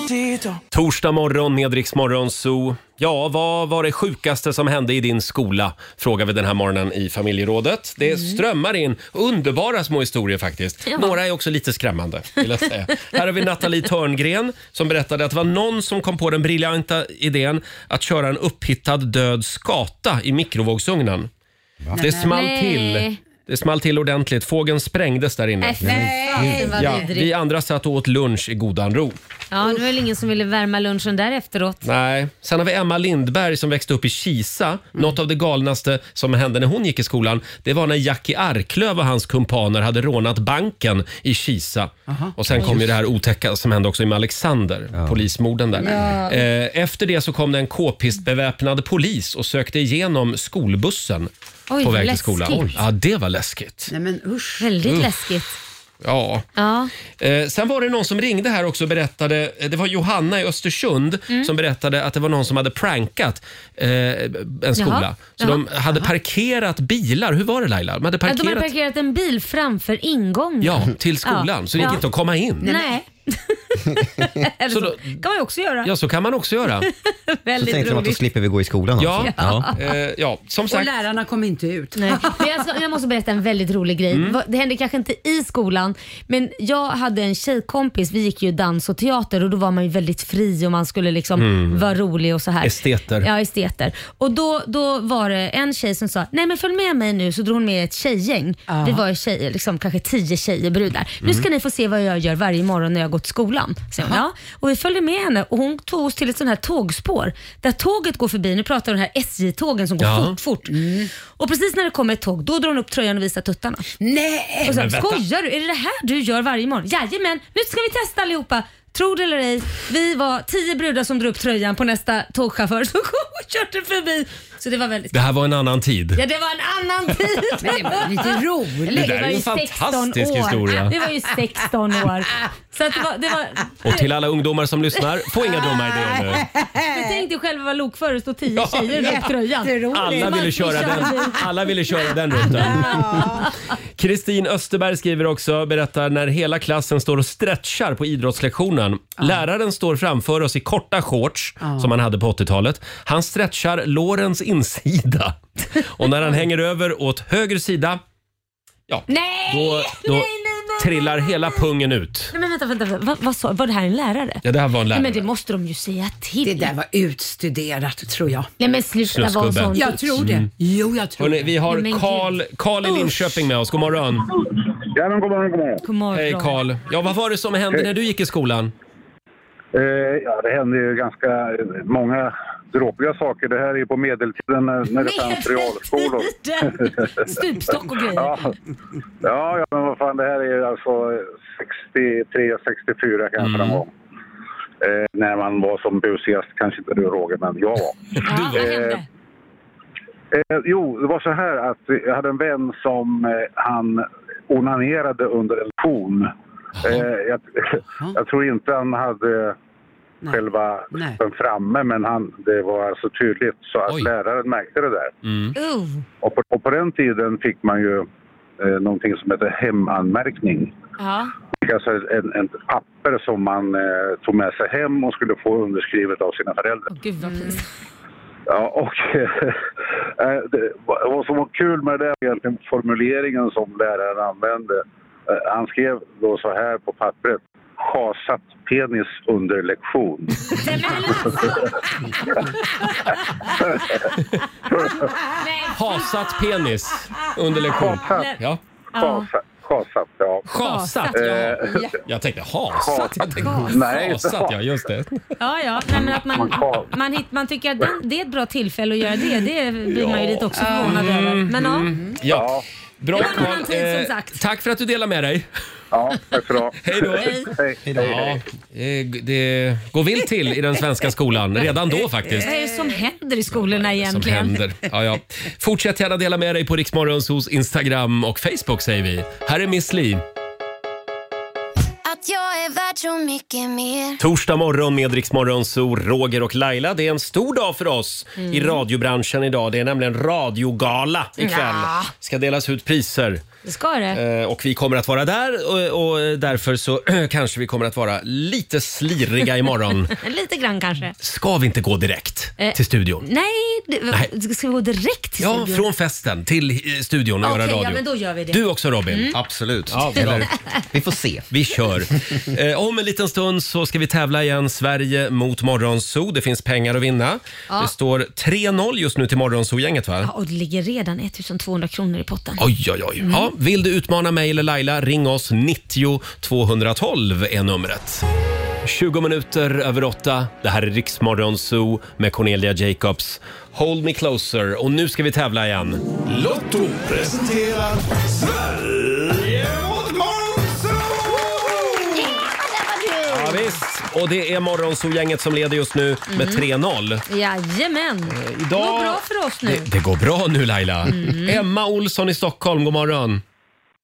Speaker 4: Det
Speaker 1: Torsdag morgon med Rix Morgon Zoo. Ja, vad var det sjukaste som hände i din skola? Frågar vi den här morgonen i familjerådet. Det
Speaker 13: Mm.
Speaker 1: strömmar in underbara små historier faktiskt.
Speaker 2: Ja.
Speaker 1: Några är också lite skrämmande, vill jag säga. här har vi Nathalie Törngren som berättade att det var någon som kom på den briljanta idén att köra en upphittad död skata i mikrovågsugnen. Det small
Speaker 13: Nej.
Speaker 1: till. Det small till ordentligt. Fågeln sprängdes där inne.
Speaker 13: Nej, fy fan, vad
Speaker 1: Ja,
Speaker 13: vidrigt.
Speaker 1: vi andra satt och åt lunch i godan ro.
Speaker 2: Ja, det var väl ingen som ville värma lunchen där efteråt.
Speaker 1: Nej. Sen har vi Emma Lindberg som växte upp i Kisa.
Speaker 2: Mm.
Speaker 1: Något av det galnaste som hände när hon gick i skolan det var när Jackie Arklöv och hans kumpaner hade rånat banken i Kisa. Och sen
Speaker 2: Oj.
Speaker 1: kom ju det här otäcka som hände också med Alexander, polismorden där.
Speaker 2: Ja.
Speaker 1: Eh, Efter det så kom det en k-pistbeväpnad polis och sökte igenom skolbussen
Speaker 2: Oj,
Speaker 1: på väg
Speaker 2: läskigt.
Speaker 1: till skolan.
Speaker 2: Oj.
Speaker 1: Ja, det var läskigt.
Speaker 6: Nej men usch.
Speaker 2: Väldigt
Speaker 1: Uff.
Speaker 2: läskigt.
Speaker 1: Ja.
Speaker 2: Ja.
Speaker 1: Eh, sen var det någon som ringde här också och berättade, eh, det var Johanna i Östersund
Speaker 2: Mm.
Speaker 1: som berättade att det var någon som hade prankat eh, en skola.
Speaker 2: Jaha,
Speaker 1: Så de
Speaker 2: jaha,
Speaker 1: hade parkerat bilar, hur var det Laila? De hade
Speaker 2: Att
Speaker 1: parkerat,
Speaker 2: de hade parkerat en bil framför ingången.
Speaker 1: Ja, till skolan, så det gick inte att komma in.
Speaker 2: Nej. Eller så, kan man ju också göra.
Speaker 1: Ja, så kan man också göra.
Speaker 2: Väldigt roligt.
Speaker 1: slipper vi gå i skolan ja,
Speaker 2: alltså.
Speaker 1: ja. Eh, ja, som
Speaker 6: Och
Speaker 1: sagt.
Speaker 6: lärarna kom inte ut.
Speaker 2: Nej. Men jag, ska, jag måste berätta en väldigt rolig grej.
Speaker 1: Mm.
Speaker 2: Va- Det hände kanske inte i skolan, men jag hade en tjejkompis. Vi gick ju dans och teater och då var man ju väldigt fri och man skulle liksom
Speaker 1: Mm.
Speaker 2: vara rolig och så här.
Speaker 1: Esteter.
Speaker 2: Ja, esteter. Och då, då var det en tjej som sa, nej men följ med mig nu, så drog hon med ett tjejgäng.
Speaker 13: Ja.
Speaker 2: Vi var tjejer, liksom, kanske tio tjejer, brudar. Nu ska
Speaker 13: Mm.
Speaker 2: ni få se vad jag gör varje morgon när jag går till skolan. Så, ja. Och vi följde med henne och hon tog oss till ett sånt här tågspår där tåget går förbi. Nu pratar vi om de här SJ-tågen som går
Speaker 13: Ja.
Speaker 2: fort, fort.
Speaker 6: Mm.
Speaker 2: Och precis när det kommer ett tåg, då drar hon upp tröjan och visar tuttarna.
Speaker 6: Nej!
Speaker 2: Och så,
Speaker 13: Men vänta.
Speaker 2: skojar du? Är det det här du gör varje morgon? Jajamän, nu ska vi testa allihopa. Tror det eller ej, vi var tio brudar som drog upp tröjan på nästa tågchaufför som kom och körde förbi. Så det var väldigt
Speaker 1: Det här var en annan tid.
Speaker 2: Ja, det var en annan tid.
Speaker 6: Men det var lite roligt.
Speaker 1: Det där är
Speaker 2: var
Speaker 1: en
Speaker 2: ju 16
Speaker 1: fantastisk
Speaker 2: år.
Speaker 1: historia.
Speaker 2: Det var ju 16 år. Så att det var... Det var
Speaker 1: Och till alla ungdomar som lyssnar, få inga dumma idéer nu.
Speaker 2: Men tänk dig själv att vara lokförare och stå tio
Speaker 1: Ja,
Speaker 2: tjejer i tröjan.
Speaker 1: Alla ville, köra den, alla ville köra den rutan. Kristin Österberg skriver också, berättar när hela klassen står och stretchar på idrottslektionen. Läraren står framför oss i korta shorts
Speaker 2: Ja.
Speaker 1: som han hade på 80-talet. Han stretchar lårens insida och när han hänger över åt höger sida, ja,
Speaker 2: Nej!
Speaker 1: då, då trillar hela pungen ut.
Speaker 2: Nej men vänta, vänta, vänta. Vad, vad sa, var det här en lärare?
Speaker 1: Ja, det här var en
Speaker 2: Nej, men
Speaker 1: lärare.
Speaker 2: det måste de ju säga till.
Speaker 6: Det där var utstuderat tror jag.
Speaker 2: Nej men sluta vara en sån.
Speaker 1: Snuskgubbe.
Speaker 6: Jag tror det.
Speaker 1: Mm.
Speaker 6: Jo, jag tror
Speaker 1: Hörrni,
Speaker 6: det.
Speaker 1: vi
Speaker 6: Nej,
Speaker 1: har
Speaker 6: men
Speaker 1: Karl, Karl i Linköping med oss. God morgon. Ja, men god morgon, god morgon.
Speaker 2: God morgon.
Speaker 1: Hej Karl. Ja, vad var det som hände när du gick i skolan?
Speaker 14: Eh, ja, det hände ju ganska många dråpliga saker. Det här är ju på medeltiden när, när det fanns realskolor.
Speaker 2: Stupstock och grejer.
Speaker 14: Ja. Ja, ja, men vad fan, det här är ju alltså 63, 64 kanske någon gång. Eh, när man var som busigast, kanske inte du Roger, men jag var.
Speaker 2: du var. Eh,
Speaker 1: Mm.
Speaker 14: eh, jo, det var så här att jag hade en vän som eh, han onanerade under en lektion. Eh, jag, jag tror inte han hade själva den framme, men han, det var alltså tydligt så att läraren märkte det där.
Speaker 2: Oh.
Speaker 14: Och på, och på den tiden fick man ju eh, någonting som hette hemanmärkning.
Speaker 2: Ja.
Speaker 14: Fick Alltså en, en papper som man eh, tog med sig hem och skulle få underskrivet av sina föräldrar.
Speaker 2: Gud vad pinsamt.
Speaker 14: Ja, och eh, det, vad vad som var kul med det där var egentligen formuleringen som läraren använde. Eh, han skrev då så här på pappret. Schasat penis under lektion.
Speaker 1: Hasat penis under lektion.
Speaker 14: Hasat.
Speaker 1: Ja.
Speaker 14: Schasat, schasat, ja.
Speaker 1: Schasat, ja.
Speaker 14: Eh,
Speaker 1: Jag tänkte hasat. Jag tänkte
Speaker 14: Nej,
Speaker 1: hasat, ja just det.
Speaker 2: Ja, ja. Nej, men att man, man, hit, man tycker att den, det är ett bra tillfälle att göra det. Det blir man ju lite också förvånad
Speaker 1: Mm.
Speaker 2: över. Men ja.
Speaker 1: Ja. Bra
Speaker 2: Det var en annan tid, som
Speaker 1: Eh, Tack för att du delade med dig.
Speaker 14: Ja, tack för det.
Speaker 1: Hej då.
Speaker 14: Hej.
Speaker 1: Ja, eh, det går vilt till i den svenska skolan redan då faktiskt.
Speaker 2: Vad är det som händer i skolorna
Speaker 1: Som
Speaker 2: egentligen?
Speaker 1: händer. Ja, ja. Fortsätt gärna dela med dig på Riksmorgons hos Instagram och Facebook säger vi. Här är Miss Li.
Speaker 15: Att jag är värd
Speaker 16: och mycket mer.
Speaker 1: Torsdag morgon med Rix Morgon, så Roger och Laila. Det är en stor dag för oss
Speaker 16: Mm.
Speaker 1: i radiobranschen idag. Det är nämligen radiogala ikväll.
Speaker 11: Ja.
Speaker 1: ska delas ut priser.
Speaker 11: Det ska det.
Speaker 1: Eh, Och vi kommer att vara där och, och därför så kanske vi kommer att vara lite sliriga imorgon.
Speaker 11: Lite grann
Speaker 1: Mm.
Speaker 11: kanske.
Speaker 1: Ska vi inte gå direkt
Speaker 11: Eh,
Speaker 1: till studion?
Speaker 11: Nej, det,
Speaker 1: Nej.
Speaker 11: ska vi gå direkt till
Speaker 1: Ja,
Speaker 11: studion?
Speaker 1: från festen till eh, studion och
Speaker 11: Okej,
Speaker 1: göra radio.
Speaker 11: ja, men då gör vi det.
Speaker 1: Du också Robin?
Speaker 11: Mm.
Speaker 1: Absolut.
Speaker 11: Eller-
Speaker 1: vi får se. Vi kör. Eh, om en liten stund så ska vi tävla igen. Sverige mot Morgonzoo. Det finns pengar att vinna.
Speaker 11: Ja.
Speaker 1: Det står 3-0 just nu till Morgonzoo-gänget va?
Speaker 11: Ja, och det ligger redan 1200 kronor i potten.
Speaker 1: Oj, oj, oj.
Speaker 11: Mm.
Speaker 1: Ja, vill du utmana mig eller Laila, ring oss. 90 212 är numret. 20 minuter över åtta. Det här är Riksmorgon Zoo med Cornelia Jacobs. Hold me closer. Och nu ska vi tävla igen.
Speaker 4: Lotto presenterar Sverige mot Monzo!
Speaker 1: Ja, visst. Och det är Morgonzoo-gänget som leder just nu med
Speaker 11: Mm.
Speaker 1: 3-0.
Speaker 11: Jajamän. Det
Speaker 1: Eh, idag-
Speaker 11: går bra för oss nu.
Speaker 1: Det, det går bra nu Laila.
Speaker 11: Mm.
Speaker 1: Emma Olsson i Stockholm, god morgon.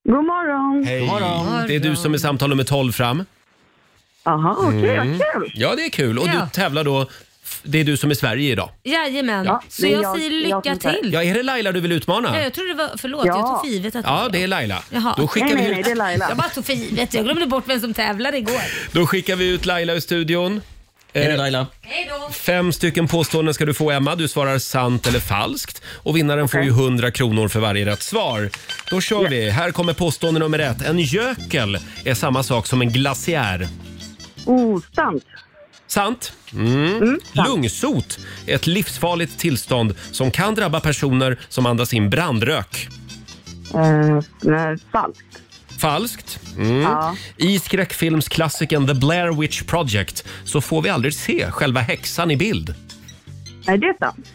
Speaker 5: God morgon.
Speaker 1: Hej. Mm, Det är du som är samtal nummer 12 fram.
Speaker 5: Jaha, okej,
Speaker 1: Mm.
Speaker 5: vad kul.
Speaker 1: Ja, det är kul. Och
Speaker 11: Ja.
Speaker 1: du tävlar då. f- Det är du som är Sverige idag.
Speaker 11: Jajamän.
Speaker 5: Ja,
Speaker 11: så
Speaker 5: men
Speaker 11: jag,
Speaker 5: jag-
Speaker 11: säger
Speaker 5: jag
Speaker 11: lycka
Speaker 5: som tar-
Speaker 11: till.
Speaker 1: Ja, är det Laila du vill utmana?
Speaker 11: Ja, jag tror det var, förlåt,
Speaker 5: Ja.
Speaker 11: jag tog för givet att
Speaker 1: Ja, det är Laila.
Speaker 11: Jaha.
Speaker 1: Då skickar, vi ut,
Speaker 11: Jag bara tog för givet. Jag glömde bort vem som tävlade igår.
Speaker 1: då skickar vi ut Laila ur studion. Är det Laila?
Speaker 11: Hej då.
Speaker 1: Fem stycken påståenden ska du få Emma. Du svarar sant eller falskt. Och vinnaren får ju 100 kronor för varje rätt svar. Då kör vi. Här kommer påstående nummer ett. En gökel är samma sak som en glaciär.
Speaker 5: Oh, sant.
Speaker 1: Sant? Mm. Lungsot är ett livsfarligt tillstånd som kan drabba personer som andas in brandrök.
Speaker 5: Eh, nej, falskt.
Speaker 1: Falskt. Mm.
Speaker 5: Ja.
Speaker 1: I skräckfilmsklassikern The Blair Witch Project så får vi aldrig se själva häxan i bild.
Speaker 5: Nej, det är sant.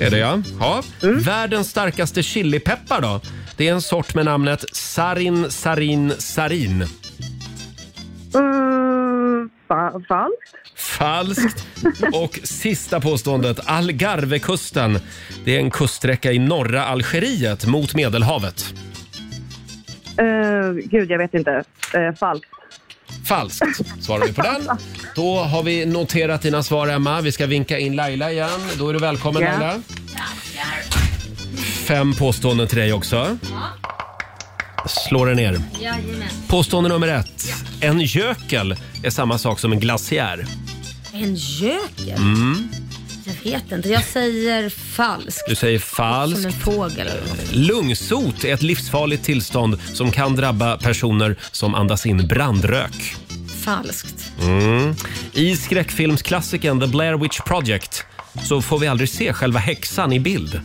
Speaker 1: Är det ja. ja. Världens starkaste chilipeppar då? Det är en sort med namnet sarin sarin sarin.
Speaker 5: Mm, fa- falskt.
Speaker 1: Falskt. Och sista påståendet. Algarvekusten. Det är en kuststräcka i norra Algeriet mot Medelhavet.
Speaker 5: Eh, gud, jag vet inte. Eh, falskt.
Speaker 1: Falskt svarar vi på den. Då har vi noterat dina svar Emma. Vi ska vinka in Laila igen. Då är du välkommen
Speaker 5: Ja.
Speaker 1: Laila. Fem påståenden till dig också. Slå dig ner.
Speaker 11: Jajamän.
Speaker 1: Påstående nummer ett. En gökel är samma sak som en glaciär.
Speaker 11: En gökel?
Speaker 1: Mm.
Speaker 11: Jag vet inte. Jag säger falskt.
Speaker 1: Du säger
Speaker 11: Som en
Speaker 1: falskt.
Speaker 11: fågel.
Speaker 1: Lungsot är ett livsfarligt tillstånd som kan drabba personer som andas in brandrök.
Speaker 11: Falskt.
Speaker 1: Mm. I skräckfilmsklassikern The Blair Witch Project så får vi aldrig se själva häxan i bild.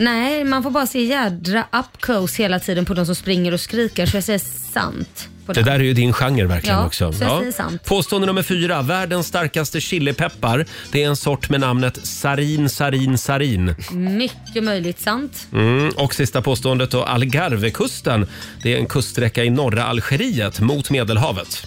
Speaker 11: Nej, man får bara se jädra up close hela tiden på de som springer och skriker. Så jag säger sant. På
Speaker 1: Det
Speaker 11: den.
Speaker 1: där är ju din genre verkligen
Speaker 11: Ja,
Speaker 1: också.
Speaker 11: så jag säger sant.
Speaker 1: Påstående nummer fyra. Världens starkaste chilipeppar. Det är en sort med namnet sarin, sarin, sarin.
Speaker 11: Mycket möjligt sant.
Speaker 1: Mm. Och sista påståendet då. Algarvekusten. Det är en kuststräcka i norra Algeriet mot Medelhavet.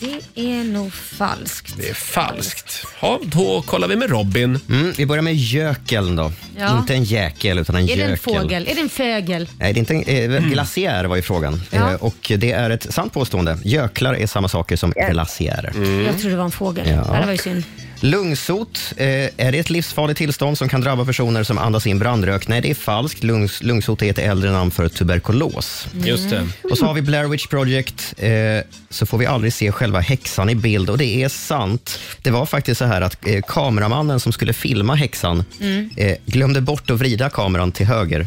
Speaker 11: Det är nog falskt.
Speaker 1: Det är falskt. Ja, då kollar vi med Robin.
Speaker 3: Mm, vi börjar med gökeln då.
Speaker 11: Ja.
Speaker 3: Inte en jäkel utan en
Speaker 11: är det
Speaker 3: gökel.
Speaker 11: en fågel? Är det en fågel?
Speaker 3: Nej, det är inte en, eh,
Speaker 1: Mm.
Speaker 3: glaciär var ju frågan.
Speaker 11: Ja.
Speaker 3: Eh, och det är ett sant påstående. Göklar är samma saker som glaciärer.
Speaker 1: Mm.
Speaker 11: Jag trodde det var en fågel.
Speaker 3: Ja.
Speaker 11: Ja. Det var ju synd.
Speaker 3: Lungsot, eh, är det ett livsfarligt tillstånd som kan drabba personer som andas in brandrök? Nej, det är falskt. Lungs, lungsot är ett äldre namn för tuberkulos.
Speaker 11: Mm.
Speaker 1: Just det.
Speaker 3: Och så har vi Blair Witch Project, eh, så får vi aldrig se själva häxan i bild och det är sant. Det var faktiskt så här att eh, kameramannen som skulle filma häxan
Speaker 16: Mm.
Speaker 3: eh, glömde bort att vrida kameran till höger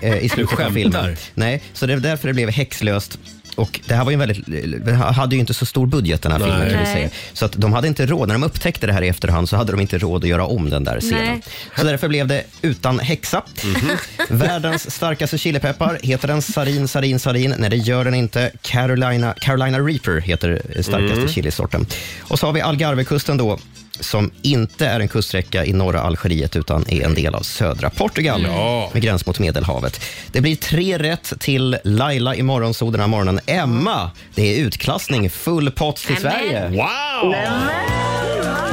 Speaker 3: eh, i slutet av filmen.
Speaker 16: skämtar.
Speaker 3: Nej, så det är därför det blev häxlöst. Och det här var ju en väldigt, det hade ju inte så stor budget den här
Speaker 16: Nej.
Speaker 3: filmen. Kan vi
Speaker 16: Nej.
Speaker 3: säga. Så att de hade inte råd, när de upptäckte det här i efterhand så hade de inte råd att göra om den där scenen.
Speaker 16: Nej.
Speaker 3: Så därför blev det Utan häxa. Världens starkaste chilipeppar. Heter den sarin, sarin, sarin? Nej, det gör den inte. Carolina, Carolina Reaper heter eh, starkaste
Speaker 16: Mm.
Speaker 3: chilisorten. Och så har vi Algarvekusten då som inte är en kuststräcka i norra Algeriet utan är en del av södra Portugal med gräns mot Medelhavet. Det blir tre rätt till Laila i morgonsol den här morgonen. Emma, det är utklassning, full pott till Sverige.
Speaker 1: Wow!
Speaker 11: Vad kul!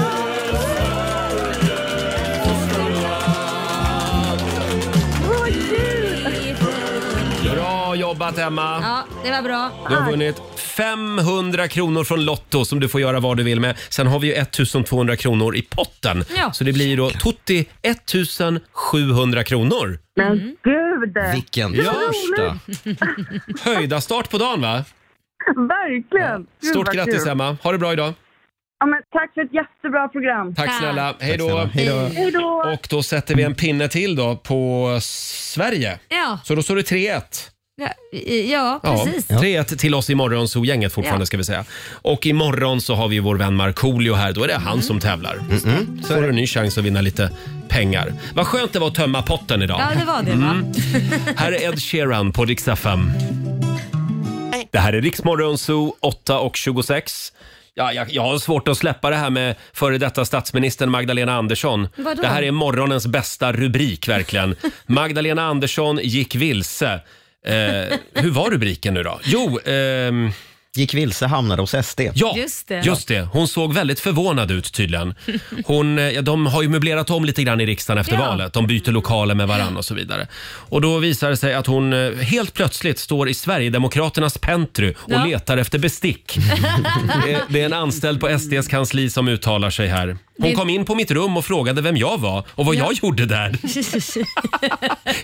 Speaker 1: Bra jobbat Emma!
Speaker 11: Ja, det var bra.
Speaker 1: Du har vunnit 500 kronor från Lotto som du får göra vad du vill med. Sen har vi ju 1200 kronor i potten.
Speaker 17: Ja.
Speaker 1: Så det blir ju då Tutti 1700 kronor.
Speaker 5: Men gud! eh,
Speaker 1: Vilken
Speaker 5: Hur
Speaker 1: torsdag.
Speaker 5: roligt!
Speaker 1: Höjda start på dagen va?
Speaker 5: Verkligen! Gud,
Speaker 1: Stort
Speaker 5: vad
Speaker 1: grattis
Speaker 5: kul.
Speaker 1: Emma. Ha det bra idag.
Speaker 5: Ja, men tack för ett jättebra program.
Speaker 1: Tack snälla. Hej då.
Speaker 5: snälla. Hej då. Hej då.
Speaker 1: Och då sätter vi en pinne till då på Sverige.
Speaker 2: Ja.
Speaker 1: Så då står det 3-1.
Speaker 2: Ja, i- ja
Speaker 1: Ja,
Speaker 2: precis.
Speaker 1: 3-1 till oss i morgonzoo-gänget fortfarande
Speaker 2: Ja.
Speaker 1: ska vi säga. Och imorgon så har vi ju vår vän Markoolio här. Då är det han som tävlar. Mm. Så får du en ny chans att vinna lite pengar. Vad skönt det var att tömma potten idag.
Speaker 2: Ja, det var det va?
Speaker 1: Här är Ed Sheeran på Rix FM. Det här är Rix Morgonzoo 8 och 26. Ja, jag, jag har svårt att släppa det här med före detta statsministern Magdalena Andersson.
Speaker 2: Vadå?
Speaker 1: Det här är morgonens bästa rubrik verkligen. Magdalena Andersson gick vilse. Eh, hur var rubriken nu då? Jo, ehm...
Speaker 3: Gick vilse, hamnade hos SD.
Speaker 1: Ja,
Speaker 2: Just
Speaker 1: just
Speaker 2: det.
Speaker 1: det. Hon såg väldigt förvånad ut tydligen. Hon, eh, de har ju möblerat om lite grann i riksdagen efter
Speaker 2: Ja.
Speaker 1: valet. De byter lokaler med varandra och så vidare. Och då visar det sig att hon eh, helt plötsligt står i Sverigedemokraternas pentry och
Speaker 2: Ja.
Speaker 1: letar efter bestick. det, är, det är en anställd på SDs kansli som uttalar sig här.
Speaker 2: Det-
Speaker 1: Hon kom in på mitt rum och frågade vem jag var och vad jag gjorde där. Mm.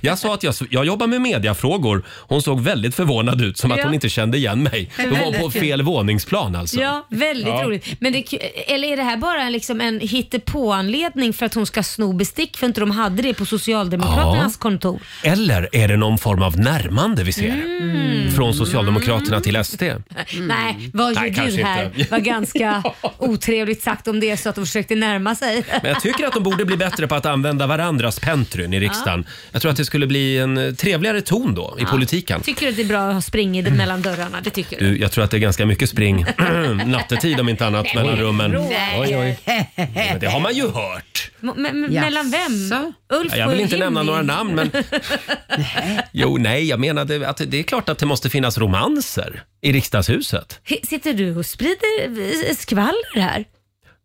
Speaker 1: Jag sa att jag, jag jobbar med mediafrågor. Hon såg väldigt förvånad ut, som att
Speaker 2: Ja.
Speaker 1: hon inte kände igen mig.
Speaker 2: Men
Speaker 1: Hon var
Speaker 2: väldigt
Speaker 1: på
Speaker 2: kul.
Speaker 1: fel våningsplan alltså.
Speaker 2: Ja, väldigt
Speaker 1: Ja.
Speaker 2: roligt. Men det, är ku- eller är det här bara en, liksom en hittepåanledning för att hon ska sno bestick för inte de hade det på Socialdemokraternas
Speaker 1: Ja.
Speaker 2: kontor?
Speaker 1: Eller är det någon form av närmande vi ser?
Speaker 2: Mm.
Speaker 1: Från Socialdemokraterna till SD.
Speaker 2: Nej, vad
Speaker 1: Mm. Nej,
Speaker 2: gör
Speaker 1: kanske
Speaker 2: du här?
Speaker 1: inte.
Speaker 2: var ganska otrevligt sagt om det är så att de försökte närma sig.
Speaker 1: Men jag tycker att de borde bli bättre på att använda varandras pentryn i riksdagen. Jag tror att det skulle bli en eh, trevligare ton då i
Speaker 2: Ja.
Speaker 1: politiken.
Speaker 2: Tycker du att det är bra att ha spring
Speaker 1: Mm.
Speaker 2: i det mellan dörrarna? Det tycker
Speaker 1: Du, jag tror att det är ganska mycket spring nattetid om inte annat mellan rummen.
Speaker 2: Nej.
Speaker 1: Oj, oj. Men det har man ju hört.
Speaker 2: M- m- Mellan vem? Ulf
Speaker 1: Ja, Jag vill
Speaker 2: och
Speaker 1: inte nämna
Speaker 2: Jimmy?
Speaker 1: några namn men... Jo, nej, jag menade att det är klart att det måste finnas romanser i riksdagshuset.
Speaker 2: He- Sitter du och sprider eh, skvaller här?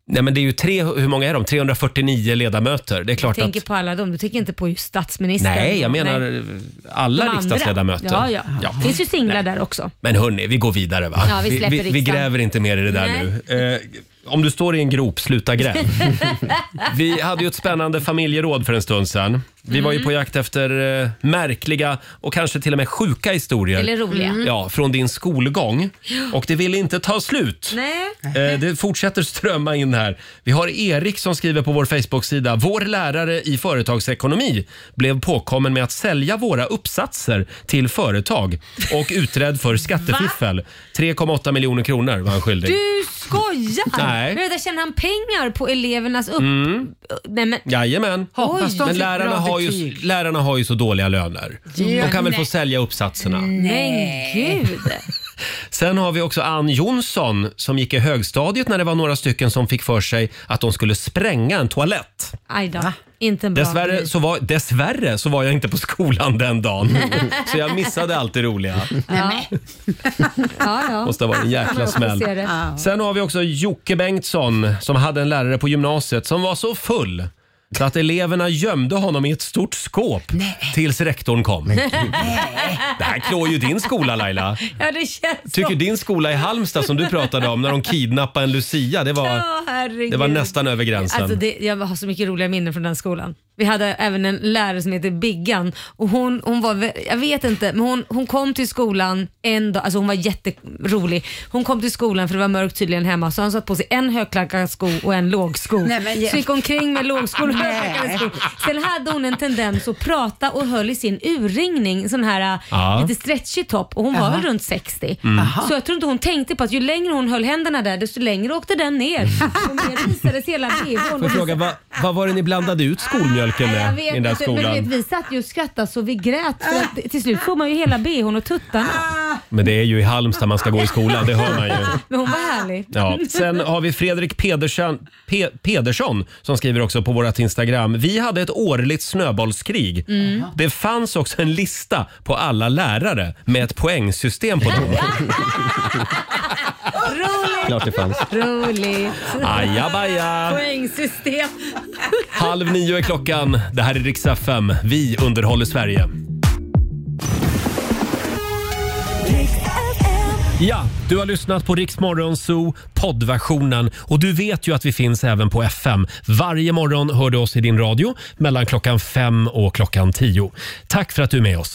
Speaker 1: Nej men det är ju tre, hur många är de? 349 ledamöter. Det är
Speaker 2: Jag
Speaker 1: klart att...
Speaker 2: tänker på alla dem. Du tänker inte på just statsministern?
Speaker 1: Nej, jag menar
Speaker 2: Nej.
Speaker 1: alla
Speaker 2: De andra.
Speaker 1: riksdagsledamöter.
Speaker 2: Ja, ja.
Speaker 1: Ja.
Speaker 2: Det finns ju singlar där också.
Speaker 1: Men hörni, vi går vidare va?
Speaker 2: Ja, vi släpper
Speaker 1: vi, vi
Speaker 2: riksdagen.
Speaker 1: gräver inte mer i det där
Speaker 2: Nej.
Speaker 1: nu. Eh, om du står i en grop, sluta gräv. vi hade ju ett spännande familjeråd för en stund sedan. Vi var ju
Speaker 2: Mm.
Speaker 1: på jakt efter eh, märkliga och kanske till och med sjuka historier.
Speaker 2: Eller roliga. Mm.
Speaker 1: Ja, från din skolgång.
Speaker 2: Ja.
Speaker 1: Och det ville inte ta slut.
Speaker 2: Nej.
Speaker 1: Eh, Det fortsätter strömma in här. Vi har Erik som skriver på vår Facebook-sida. Vår lärare i företagsekonomi blev påkommen med att sälja våra uppsatser till företag och utredd för skattefiffel. 3,8 miljoner kronor var han skyldig.
Speaker 2: Du skojar!
Speaker 1: Nej.
Speaker 2: Men där tjänar han pengar på elevernas upp...
Speaker 1: Mm.
Speaker 2: Nej, men...
Speaker 1: Jajamän.
Speaker 2: Hoppas de
Speaker 1: Men
Speaker 2: fick
Speaker 1: lärarna
Speaker 2: bra
Speaker 1: har, ju,
Speaker 2: betyg.
Speaker 1: lärarna har ju så dåliga löner.
Speaker 2: Ja,
Speaker 1: De kan väl
Speaker 2: nej. Mm.
Speaker 1: få sälja uppsatserna.
Speaker 2: Nej, gud.
Speaker 1: Sen har vi också Ann Jonsson som gick i högstadiet när det var några stycken som fick för sig att de skulle spränga en toalett.
Speaker 2: Aj då. Inte en bra
Speaker 1: Dessvärre
Speaker 2: grej.
Speaker 1: så, var, dessvärre så var jag inte på skolan den dagen. Så jag missade allt det roliga.
Speaker 2: Ja. ja, ja.
Speaker 1: Måste ha varit en jäkla
Speaker 2: Man får
Speaker 1: smäll.
Speaker 2: se det.
Speaker 1: Sen har vi också Jocke Bengtsson som hade en lärare på gymnasiet som var så full så att eleverna gömde honom i ett stort skåp tills rektorn kom. Det här klår ju din skola Laila.
Speaker 2: Ja, det känns
Speaker 1: Tycker
Speaker 2: så.
Speaker 1: din skola i Halmstad som du pratade om när de kidnappade en Lucia, det var,
Speaker 2: Ja, herregud.
Speaker 1: det var nästan över gränsen.
Speaker 2: Alltså det, jag har så mycket roliga minnen från den skolan. Vi hade även en lärare som heter Biggan och hon, hon var, vä- jag vet inte, men hon, hon kom till skolan en dag, alltså hon var jätterolig. Hon kom till skolan för det var mörkt tydligen hemma så hon satt på sig en högklackad sko och en lågsko.
Speaker 6: Nej, men jag-
Speaker 2: Så gick omkring med lågskor och
Speaker 6: Nej.
Speaker 2: högklackade skor. Sen hade hon en tendens att prata och höll i sin urringning, en sån här äh,
Speaker 1: Ja.
Speaker 2: lite stretchig topp och hon var
Speaker 1: Jaha.
Speaker 2: väl runt 60.
Speaker 1: Mm. Aha.
Speaker 2: Så jag tror inte hon tänkte på att ju längre hon höll händerna där desto längre åkte den ner. Och mer visades hela bhn.
Speaker 1: Mm. Får jag fråga, vad, vad var det ni blandade ut skolmjölken
Speaker 2: alltså, Jag
Speaker 1: med i
Speaker 2: vet
Speaker 1: den där
Speaker 2: inte, men du vet,
Speaker 1: skolan?
Speaker 2: vi satt ju och skrattade så vi grät. För att, till slut får man ju hela bhn och tuttarna.
Speaker 1: Men det är ju i Halmstad man ska gå i skolan, det hör man ju.
Speaker 2: Men hon var härlig.
Speaker 1: Ja. Sen har vi Fredrik Pedersen, Pe- Pedersson som skriver också på vårt Instagram. Vi hade ett årligt snöbollskrig.
Speaker 2: Mm.
Speaker 1: Det fanns också en lista på alla lärare med ett poängsystem på dem.
Speaker 2: Roligt!
Speaker 1: Klart det fanns.
Speaker 2: Roligt!
Speaker 1: Ajabaja.
Speaker 2: Poängsystem.
Speaker 1: Halv nio är klockan. Det här är Rix FM. Vi underhåller Sverige. Ja, du har lyssnat på Rix Morgon Zoo poddversionen och du vet ju att vi finns även på FM. Varje morgon hör du oss i din radio mellan klockan fem och klockan tio. Tack för att du är med oss.